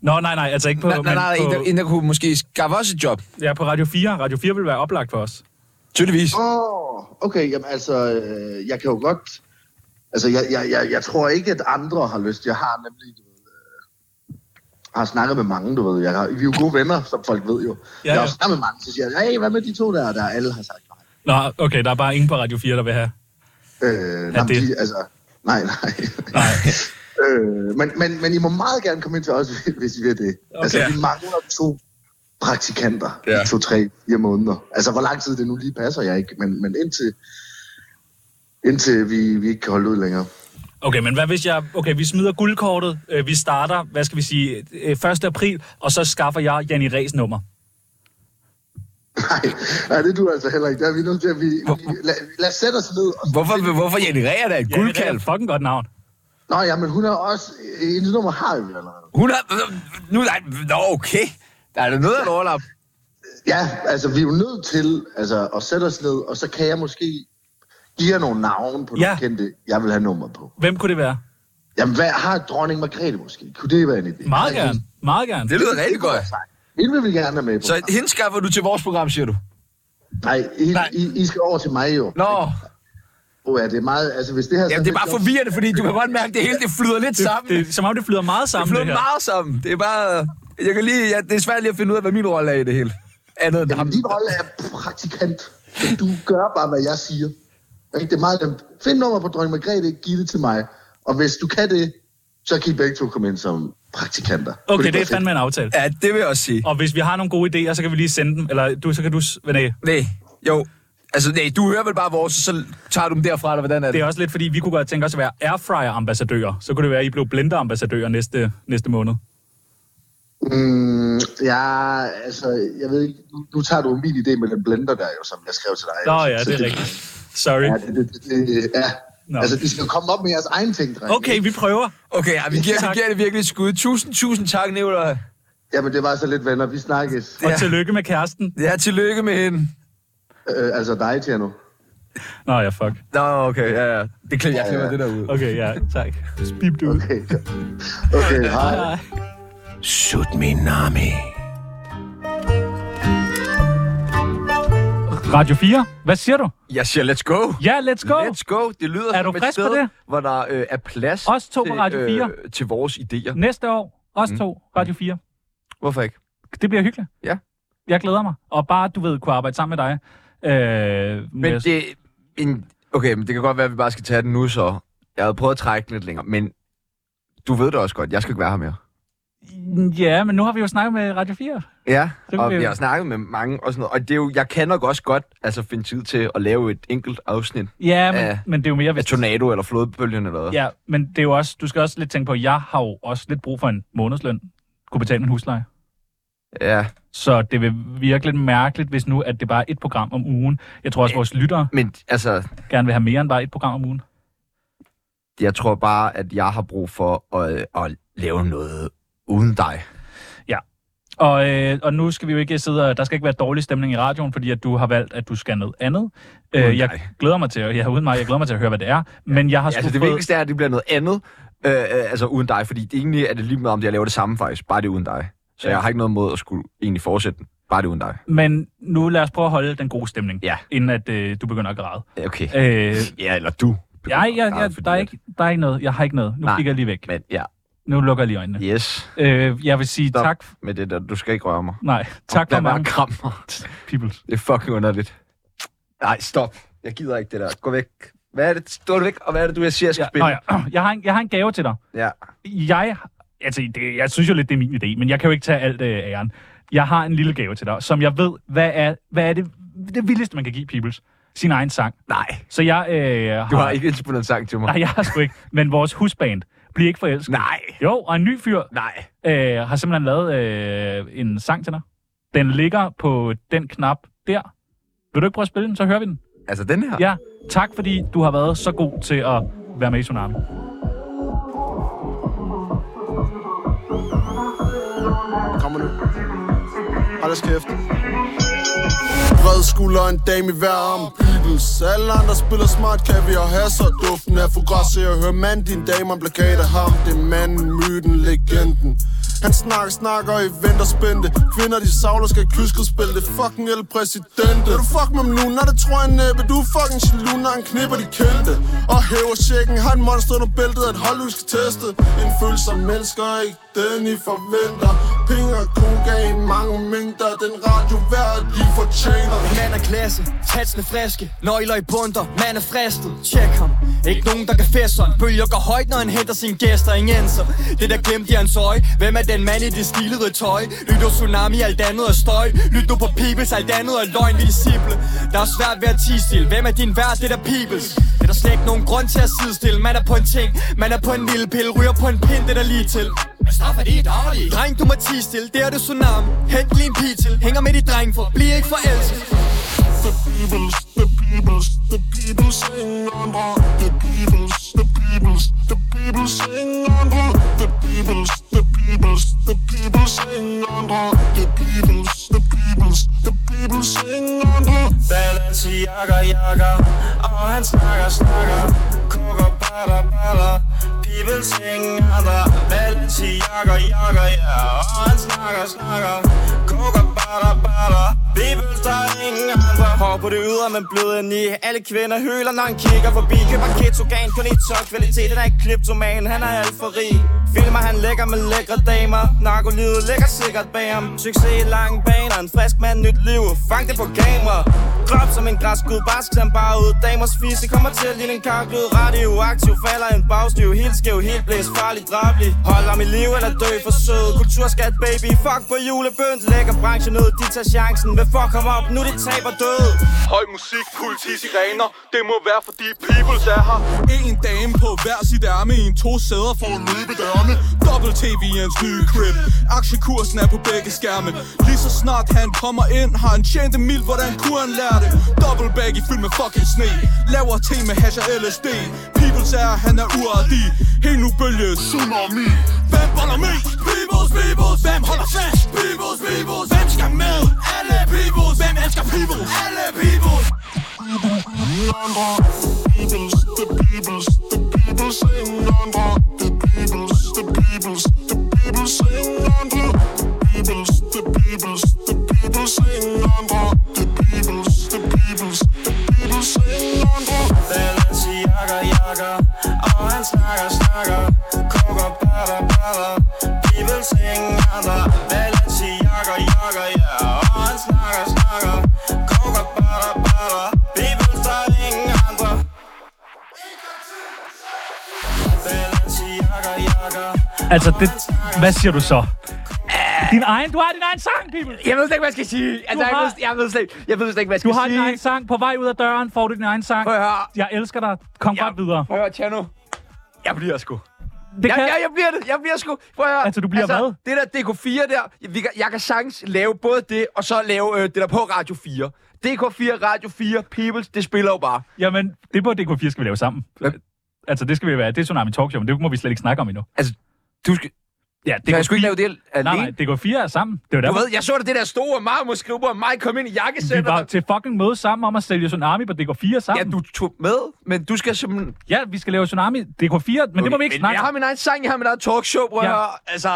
Nå, nej, nej, altså ikke på...
Nej, nej,
men
nej, en,
på
der, en, der kunne måske skaffe os et job.
Ja, på Radio 4. Radio 4 vil være oplagt for os.
Tydeligvis.
Åh, oh, okay, jamen altså, øh, jeg kan jo godt... Altså, jeg, jeg, jeg, jeg tror ikke, at andre har lyst. Jeg har nemlig, du ved, øh, har snakket med mange, du ved. Jeg har, vi er jo gode venner, som folk ved jo. Ja,
ja.
jeg har snakket med mange, så siger jeg, hey, hvad med de to der, der alle har sagt nej.
Nå, okay, der er bare ingen på Radio 4, der vil have.
Øh,
Ja,
nej,
det-
de, altså, nej, nej.
Nej.
<laughs> øh, men, men, men I må meget gerne komme ind til os, <laughs> hvis I vil det. Okay. Altså,
Okay.
vi mangler to praktikanter
Ja.
i to, tre, fire måneder. Altså, hvor lang tid det nu lige passer jeg ikke, men, men indtil, indtil vi, vi ikke kan holde ud længere. <laughs>
Okay, men hvad hvis jeg... Okay, vi smider guldkortet. Øh, vi starter, hvad skal vi sige, øh, 1. april, og så skaffer jeg Janni Ræs nummer.
Nej, nej, det du altså heller ikke. Der er vi nødt til at... Vi, vi, lad, lad os sætte os ned. Og så
Hvorfor,
finde-
hvorfor genererer det et
Janni Ræs er
guldkalv?
et fucking godt navn.
Nå ja, men hun er også... Hendes nummer har jo vi allerede.
Hun har... Nu, nej, nå, okay. Der er da noget af et overlap.
Ja, altså, vi er jo nødt til altså, at sætte os ned, og så kan jeg måske give jer nogle navne på
Ja.
ja. nogle kendte, jeg vil have nummer på.
Hvem kunne det være?
Jamen, hvad har dronning Margrethe måske? Kunne det være en idé?
Meget
Nej,
gerne. Meget gerne.
Det lyder rigtig godt.
Hende vil vi gerne have med på.
Så hende skaffer du til vores program, siger du?
Nej, I,
Nej.
Nej. I, I skal over til mig jo.
Nå,
Oh, ja, det er meget... Altså, hvis det her...
jamen, det er bare forvirrende, fordi du kan godt mærke, at det hele det flyder lidt sammen.
Det, er, som om det flyder meget
Det
sammen, det,
flyder
det her.
meget sammen. Det er bare... Jeg kan lige... Ja, det er svært lige at finde ud af, hvad min rolle er i det hele. Andet end ham.
Jamen, din rolle er praktikant. Så Du gør bare, hvad jeg siger. Ikke? Det er meget nemt. Find nummer på dronning Margrethe, giv det til mig. Og hvis du kan det, så kan I begge to komme ind som praktikanter. Kunne
Okay, det
være
er fandme en aftale.
Ja, det vil jeg også sige.
Og hvis vi har nogle gode idéer, så kan vi lige sende dem. Eller du, så kan du... s- René,
Nej, jo. Altså, nej, du hører vel bare vores, så tager du dem derfra, eller hvordan er det?
det er også lidt, fordi vi kunne godt tænke os at være airfryer-ambassadører. Så kunne det være, at I blev blender-ambassadører næste, næste måned.
Mm, ja, altså, jeg ved ikke, nu, nu tager du min idé med den blender der jo, som jeg skrev til dig. altså.
Nå ja,
Så
det er rigtigt. Sorry.
Ja, det, det, det, det, ja.
Nå.
altså, de skal jo komme op med jeres egen ting, drenge.
Okay, vi prøver.
Okay, ja, vi, giver,
Tak.
vi giver det virkelig et skud. Tusind, tusind tak, Nicolaj.
Jamen, det var så lidt venner, vi snakkes.
Og
Ja.
tillykke med kæresten.
Ja, tillykke med hende.
Øh, altså dig, Tjerno. <laughs>
Nå ja, fuck.
Nå, okay, ja, ja. Det klipper, jeg
Ja,
klipper
ja.
det der ud.
Okay, ja, tak. Spib det ud.
Okay,
<laughs>
okay hej.
Sut min nami.
Radio 4, hvad siger du?
Jeg siger, let's go.
Ja, let's go.
Let's go. Det lyder
Er
som
du
et
frisk på
sted,
det?
hvor der øh, er plads
Os to på Radio
til, øh,
4.
til vores idéer.
Næste år, os to, Radio 4.
Hvorfor ikke?
Det bliver hyggeligt.
Ja.
Jeg glæder mig. Og bare, du ved, kunne arbejde sammen med dig. Øh,
Men
med-
det, en, okay, men det kan godt være, at vi bare skal tage den nu så. Jeg havde prøvet at trække den lidt længere, men du ved det også godt. Jeg skal ikke være her mere.
Ja, men nu har vi jo snakket med Radio 4.
Ja,
kan
og
vi jo-
vi har snakket med mange og sådan noget. Og det er jo, jeg kan nok også godt altså, finde tid til at lave et enkelt afsnit
Ja, men,
Ja.
men det er jo mere...
af Tornado eller Flodbølgen eller noget.
Ja, men det er jo også... Du skal også lidt tænke på, at jeg har jo også lidt brug for en månedsløn. Kunne betale min husleje.
ja.
Så det vil virke lidt mærkeligt, hvis nu, at det bare er et program om ugen. Jeg tror også, vores lyttere
Men altså,
gerne vil have mere end bare et program om ugen.
jeg tror bare, at jeg har brug for at, øh, at lave noget uden dig.
Og, øh, og nu skal vi jo ikke sidde og... Der skal ikke være dårlig stemning i radioen, fordi at du har valgt, at du skal noget andet. Øh, jeg
dig.
glæder mig til at... Jeg, uden mig, jeg glæder mig til at høre, hvad det er. Men jeg har
Ja, altså,
sgu
det
fået...
vigtigste er, at det bliver noget andet, øh, øh, altså uden dig, fordi det, egentlig er det lige meget om, at jeg laver det samme faktisk, bare det er uden dig. Så
Ja.
jeg har ikke noget mod at skulle egentlig fortsætte den. Bare det uden dig.
Men nu lad os prøve at holde den gode stemning,
ja.
inden at øh, du begynder at græde.
Okay.
Øh,
ja, eller du.
Nej, jeg, jeg, der, er ikke, der er ikke noget. Jeg har ikke noget. Nu
Nej,
kigger jeg lige væk.
Men ja.
Nu lukker jeg lige øjnene.
Yes.
Øh, jeg vil sige
Stop
tak.
med det der. Du skal ikke røre mig.
Nej, tak for
Lad være
mange.
at kramme mig.
Peoples.
Det er fucking underligt. Nej, stop. Jeg gider ikke det der. Gå væk. Hvad er det? Stå væk, og hvad er det, du jeg siger, jeg skal
Nå,
spille?
ja. jeg, har en, jeg har en gave til dig.
ja.
Jeg, altså, det, jeg synes jo lidt, det er min idé, men jeg kan jo ikke tage alt øh, æren. Jeg har en lille gave til dig, som jeg ved, hvad er, hvad er det, det vildeste, man kan give Peoples? Sin egen sang.
Nej.
Så jeg øh, har...
Du har ikke indspillet en sang til mig.
Nej, jeg har sgu ikke. Men vores husband bliver ikke forelsket.
Nej.
Jo, og en ny fyr
Nej.
øh, har simpelthen lavet øh, en sang til dig. Den ligger på den knap der. Vil du ikke prøve at spille den, så hører vi den?
Altså den her?
Ja. Tak, fordi du har været så god til at være med i Tsunami.
Kommer nu. Hold deres kæft. Bred skulder en dame i hver arm Peoples Alle andre spiller smart Kaviar hasser Duften af fugras Så jeg hører mand Din dame en plakat af ham Det er manden, myten, legenden han snakker, snakker i venter spændte Kvinder de savler skal kyske spille Det er fucking el præsidente Vil du fuck med mig nu? Når det tror jeg næppe Du er fucking jaloux, når han knipper de kendte Og hæver checken, har en monster under bæltet At hold du skal teste En følsom mennesker er ikke den I forventer Penge og koka i mange mængder Den radio hver de fortjener
En mand er klasse, tatsene friske Nøgler i bunter, mand er fristet Tjek ham, ikke nogen der kan fæste sådan Bølger går højt, når han henter sine gæster Ingen så det der glemte i hans øje Hvem er den mand i det stilede tøj? Lyt nu tsunami, alt andet er støj Lyt nu på peoples, alt andet er løgn, vi er simple Der er svært ved at tige stille Hvem er din værd, det der peoples? Det er der slet ikke nogen grund til at sidestille Man er på en ting, man er på en lille pille Ryger på en pind, det der lige til Men stoffer de er dårlige Dreng, du må tige stille, det er det tsunami Hent lige en pige til, hænger med de dreng for Bliv ikke forelsket
The peoples, the peoples, the peoples ingen andre The peoples, the peoples, the peoples ingen andre The peoples, the peoples, the peoples ingen andre The peoples, the peoples, the peoples ingen andre
Balenciaga, jakker Og han snakker, snakker Kokker, batter, batter Peoples, ingen andre Balenciaga, jakker, ja Og han snakker, snakker Kokker, batter, batter Peoples, der er ingen andre Hår på det ydre, men bløde ni Alle kvinder hyler, når han kigger forbi Køber ketogan, kun i tøj Kvaliteten er ikke kleptoman, han er alt for rig Filmer han lækker med lækre damer Narkolivet ligger sikkert bag ham Succes i lange baner, en frisk mand, nyt liv Fang det på kamera Krop som en græskud, bare sklam bare ud Damers fisse kommer til at ligne en karklud Radioaktiv falder en bagstiv Helt skæv, helt blæst, farlig, drabelig Hold ham i live eller dø for sød Kulturskat baby, fuck på julebønd Lækker branchen ud, de tager chancen Vil fuck ham op, nu de taber død
Høj musik, politi, sirener Det må være fordi peoples er her En dame på hver sit ærme I en to sæder for at løbe dørene Dobbelt TV i hans nye crib Aktiekursen er på begge skærme Lige så snart han kommer ind Har han tjent en mil, hvordan kunne han lære det? Dobbelt bag i fyldt med fucking sne Laver te med hash og LSD Peoples er, han er uartig Helt nu bølge tsunami Hvem boller mest? Peoples, peoples Hvem holder fast? Peoples, peoples Hvem skal med? Alle peoples Hvem elsker peoples? Alle peoples
Ingen andre Peoples, the peoples, the peoples Ingen andre The peoples, the peoples, the peoples Ingen andre The peoples, the peoples, the peoples Ingen andre The peoples, the peoples, the peoples Ingen andre
Balenciaga, jakker Og han snakker, snakker Kokker, batter, batter Peoples, ingen andre Balenciaga, jakker, ja Og han snakker, snakker Kokker, batter, batter Peoples, der er ingen andre Balenciaga, jakker
Altså, det, hvad siger du så? Din egen, du har din egen sang, people!
Jeg ved slet ikke, hvad jeg skal sige. Altså,
Du
jeg,
har-
ved, jeg, ved slet, ikke- jeg ved slet ikke, hvad jeg
Du
skal
har din
sige.
egen sang. På vej ud af døren får du din egen sang. Jeg elsker dig. Kom godt videre.
Prøv at høre, Tjerno. Jeg bliver sgu.
Det
jeg,
kan-
jeg, jeg, bliver det. Jeg bliver sgu. Prøv at høre.
Altså, du bliver
hvad? Det der DK4 der, vi kan, jeg kan sagtens lave både det, og så lave øh, det der på Radio 4. DK4, Radio 4, Peoples, det spiller jo bare.
Jamen, det på DK4 skal vi lave sammen. Altså, det skal vi være. Det er Tsunami Talk Show, men det må vi slet ikke snakke om endnu.
Altså, du skal...
Ja,
Kan jeg sgu ikke lave det
Nej,
alene?
nej, DK4 er sammen. Det var
Du
derfor.
ved, jeg så da det der store Marmos skrive på, mig kom ind i
Vi
jakkesætter.
var til fucking møde sammen om at sælge Tsunami på DK4 sammen. Ja,
du tog med, men du skal simpelthen...
Ja, vi skal lave Tsunami DK4, men det må vi ikke
men
snakke
Jeg har min egen sang, jeg har min egen talkshow, bror.
Ja.
Ja. Altså,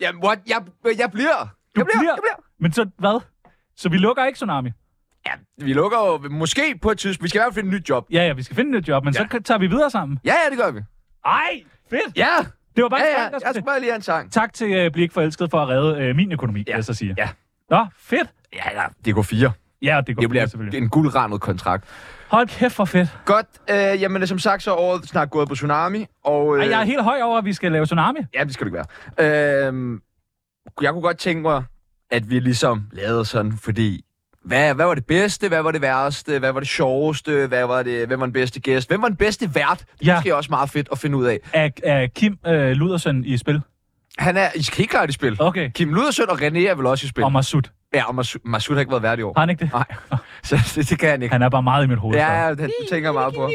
jamen, what? Jeg, jeg bliver.
Du bliver, jeg bliver. Men så hvad? Så vi lukker ikke Tsunami?
Ja, vi lukker jo måske på et tidspunkt. Vi skal i hvert fald finde et nyt job.
Ja, ja, vi skal finde et nyt job, men ja. så kan- tager vi videre sammen.
Ja, ja, det gør vi.
Ej, fedt!
Ja!
Det var bare
ja,
en
ja.
sang, der
Jeg skal bare lige have en sang.
Tak til uh, Blik Forelsket for at redde uh, min økonomi, ja. vil jeg så sige.
Ja.
Nå, fedt.
Ja, ja, det går fire.
Ja, det går
det
fire,
bliver
selvfølgelig.
en guldrandet kontrakt.
Hold kæft, hvor fedt.
Godt. Øh, jamen, som sagt, så er året snart gået på Tsunami. Og, øh,
Ej, jeg er helt høj over, at vi skal lave Tsunami.
Ja, det skal du ikke være. Øhm, jeg kunne godt tænke mig, at vi ligesom lavede sådan, fordi... Hvad, hvad var det bedste? Hvad var det værste? Hvad var det sjoveste? Hvad var det, hvem var den bedste gæst? Hvem var den bedste vært? Det
Ja.
er ja. måske også meget fedt at finde ud af.
Er, er Kim øh, Ludersen i spil?
Han er i helt klart i spil.
Okay.
Kim Ludersøn og René er vel også i spil.
Og Masud.
Ja, og Masud, Masud har ikke været vært i år.
Har han ikke det?
Nej, <laughs> så det, det kan han ikke.
Han er bare meget i mit hoved. så.
Ja, ja, det du tænker jeg meget på.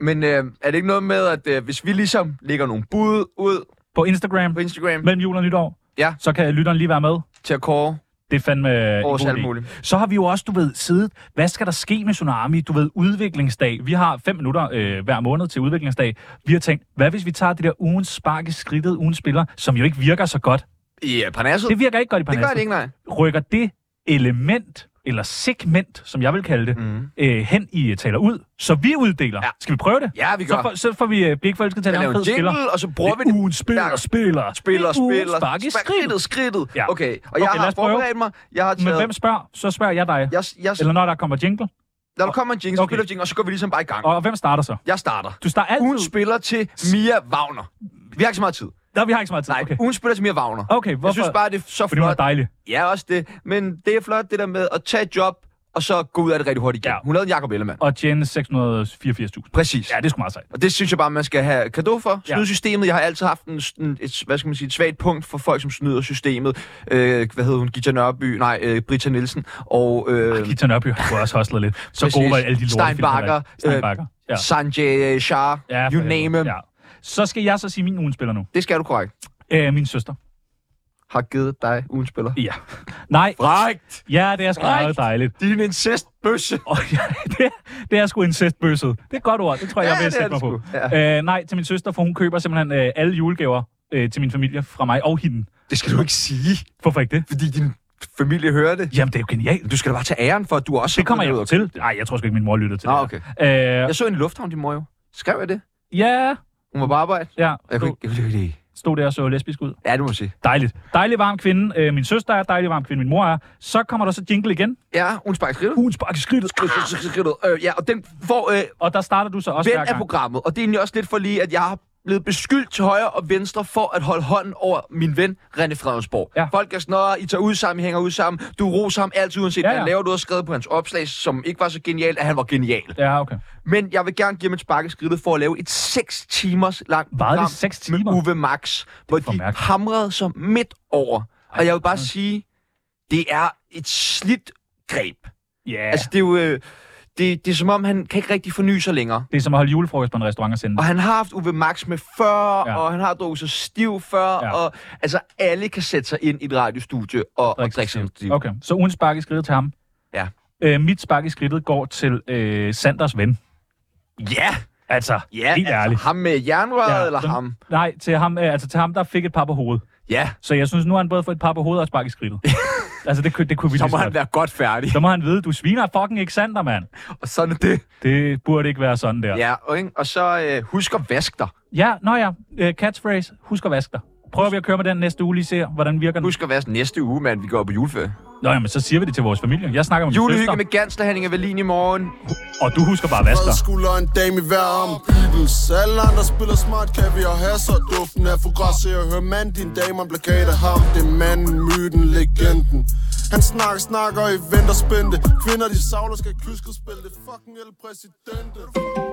Men øh, er det ikke noget med, at øh, hvis vi ligesom lægger nogle bud ud...
På Instagram?
På Instagram.
Mellem jul og nytår?
Ja.
Så kan lytteren lige være med?
Til at kåre.
Det er fandme øh, en
Års
god
alt
idé.
muligt.
Så har vi jo også, du ved, siddet, hvad skal der ske med Tsunami? Du ved, udviklingsdag. Vi har fem minutter øh, hver måned til udviklingsdag. Vi har tænkt, hvad hvis vi tager det der ugens spark i skridtet, ugens spiller, som jo ikke virker så godt.
I øh, Parnasset?
Det virker ikke godt i
Det
Parnasset.
gør det ikke, nej.
Rykker det element, eller segment, som jeg vil kalde det, mm. øh, hen i øh, taler ud, så vi uddeler. Ja. Skal vi prøve det?
Mhm. Ja, vi
Så,
gør.
får- så får vi øh, blik for, at
Vi
til
laver
en
en
fed
jingle,
spiller.
og så bruger vi
det.
det.
er Ugens spiller, spiller,
Spiller,
Det er ugens
spiller.
spark i
skridtet. skridtet.
Ja.
Okay, og jeg
lad
har
os prøve.
forberedt mig. Jeg har
Men
taget-
hvem spørger? Så spørger jeg dig.
Jeg, jeg,
Eller når der kommer jingle.
Når der kommer en jingle, så spiller vi jingle, og så går vi ligesom bare i gang.
Og hvem starter så?
Jeg starter.
Du starter altid.
Ugen spiller til Mia Wagner. Vi har ikke så meget tid.
Nå, vi har ikke så meget tid.
Nej, okay. ugen spiller til Mia Wagner.
Okay, hvorfor?
Jeg synes bare, det er så
Fordi hun er
flot.
dejlig.
Ja, også det. Men det er flot, det der med at tage et job, og så gå ud af det rigtig hurtigt igen. Ja. Hun lavede en Jacob Ellemann.
Og tjene 684.000.
Præcis.
Ja, det er sgu meget sejt.
Og det synes jeg bare, man skal have kado for.
Ja.
Snyde systemet. Jeg har altid haft en, en, et, hvad skal man sige, et svagt punkt for folk, som snyder systemet. Øh, hvad hedder hun? Gita Nørby? Nej, øh, Brita Nielsen. Og, øh, Ach,
Ah, Gita Nørby har også hostlet lidt. Så
Præcis.
gode var alle de lortefilm.
Steinbacher,
Steinbacher.
øh, Sanjay Shah,
ja,
you
for
name
helvede.
him.
Ja. Så skal jeg så sige min ugenspiller nu.
Det skal du korrekt.
Øh, min søster.
Har givet dig ugenspiller.
Ja. Nej.
Frægt!
Ja, det er sgu meget
Frækt!
dejligt.
Din incestbøsse.
Oh, ja, <laughs> det, er- det er sgu incestbøsset. Det er et godt ord. Det tror jeg,
Ja,
jeg vil
det er
sætte mig
det
på.
sgu.
Ja. Øh, nej, til min søster, for hun køber simpelthen øh, alle julegaver øh, til min familie fra mig og hende.
Det skal du ikke sige.
Hvorfor ikke det?
Fordi din familie hører det.
Jamen, det er jo genialt.
Du skal da bare tage æren for, at du også...
Det kommer jeg jo til. Nej, jeg tror sgu ikke, min mor lytter til
Nå,
det.
Ah, okay.
her. Øh,
Jeg så en i lufthavn, din mor jo. Skrev jeg det?
ja,
Hun var på arbejde.
ja.
Og Jeg kunne ikke... Jeg kunne ikke lide.
stod der og så lesbisk ud.
Ja, det må man sige.
Dejligt. Dejlig varm kvinde. Øh, min søster er dejlig varm kvinde. Min mor er. Så kommer der så jingle igen.
Ja, hun sparker skridtet.
Hun sparker skridtet.
Skridtet. Øh, ja, og den får... Øh,
Og der starter du så også hver
ven af
gang.
programmet. Og det er egentlig også lidt for lige, at jeg har blevet beskyldt til højre og venstre for at holde hånden over min ven, René Fredensborg.
Ja.
Folk er sådan, "Nå, I tager ud sammen, I hænger ud sammen, du roser ham altid, uanset
Ja,
ja,
ja.
ja. hvad han laver. Du har skrevet på hans opslag, som ikke var så genialt, at han var genial.
Ja, okay.
Men jeg vil gerne give ham et spark i skridtet for at lave et 6 timers langt
Var
program
det 6
med
timer?
Uwe Max, hvor de
mærkeligt.
hamrede sig midt over. Og jeg vil bare sige, det er et slidt greb.
Ja. Yeah.
Altså, det er jo... Øh, det, det er som om, han kan ikke rigtig forny sig længere.
Det er som at holde julefrokost på en restaurant og sende
Og
det.
han har haft Uwe Max med 40,
Ja.
ja. og han har drukket sig stiv før,
Ja.
ja. og altså alle kan sætte sig ind i et radiostudie og, og drikke sig stiv.
Okay, så ugen spark i skridtet til ham.
Ja.
Øh, mit spark i skridtet går til øh, Sanders ven.
Ja,
Altså,
ja
helt
altså,
ærligt.
ham med jernrøret
Ja,
ja, eller
dem-
ham?
Nej, til ham, øh, altså til ham, der fik et par på hovedet.
Ja,
Så jeg synes, nu har han både fået et par på hovedet og et spark i
<laughs>
skridtet. altså, det, kunne- det kunne vi
så
lige så
må han
godt.
være godt færdig.
Så må han vide, du sviner fucking ikke Sander, mand.
Og sådan er det.
Det burde ikke være sådan der.
Ja, og, ikke? og så øh, husk at vaske dig.
Ja, nå ja. Øh, catchphrase. Husk at vaske dig. Prøver vi at køre med den næste uge, lige ser, hvordan virker den.
Husk at vaske næste uge, mand. Vi går på juleferie.
Nå, jamen, så siger vi det til vores familie. Jeg snakker med min søster,
Julehygge med Gansler, Henning og Velin i morgen.
og du husker bare at vaske
Fred
dig.
skulder en dame i hver arm Beatles Alle andre spiller smart, kan vi og have så duften af fugras Jeg hører mand, din dame, en plakat af ham Det er manden, myten, legenden Han snakker, snakker i venter spændte Kvinder, de savler, skal kyskespille Det er fucking el præsidente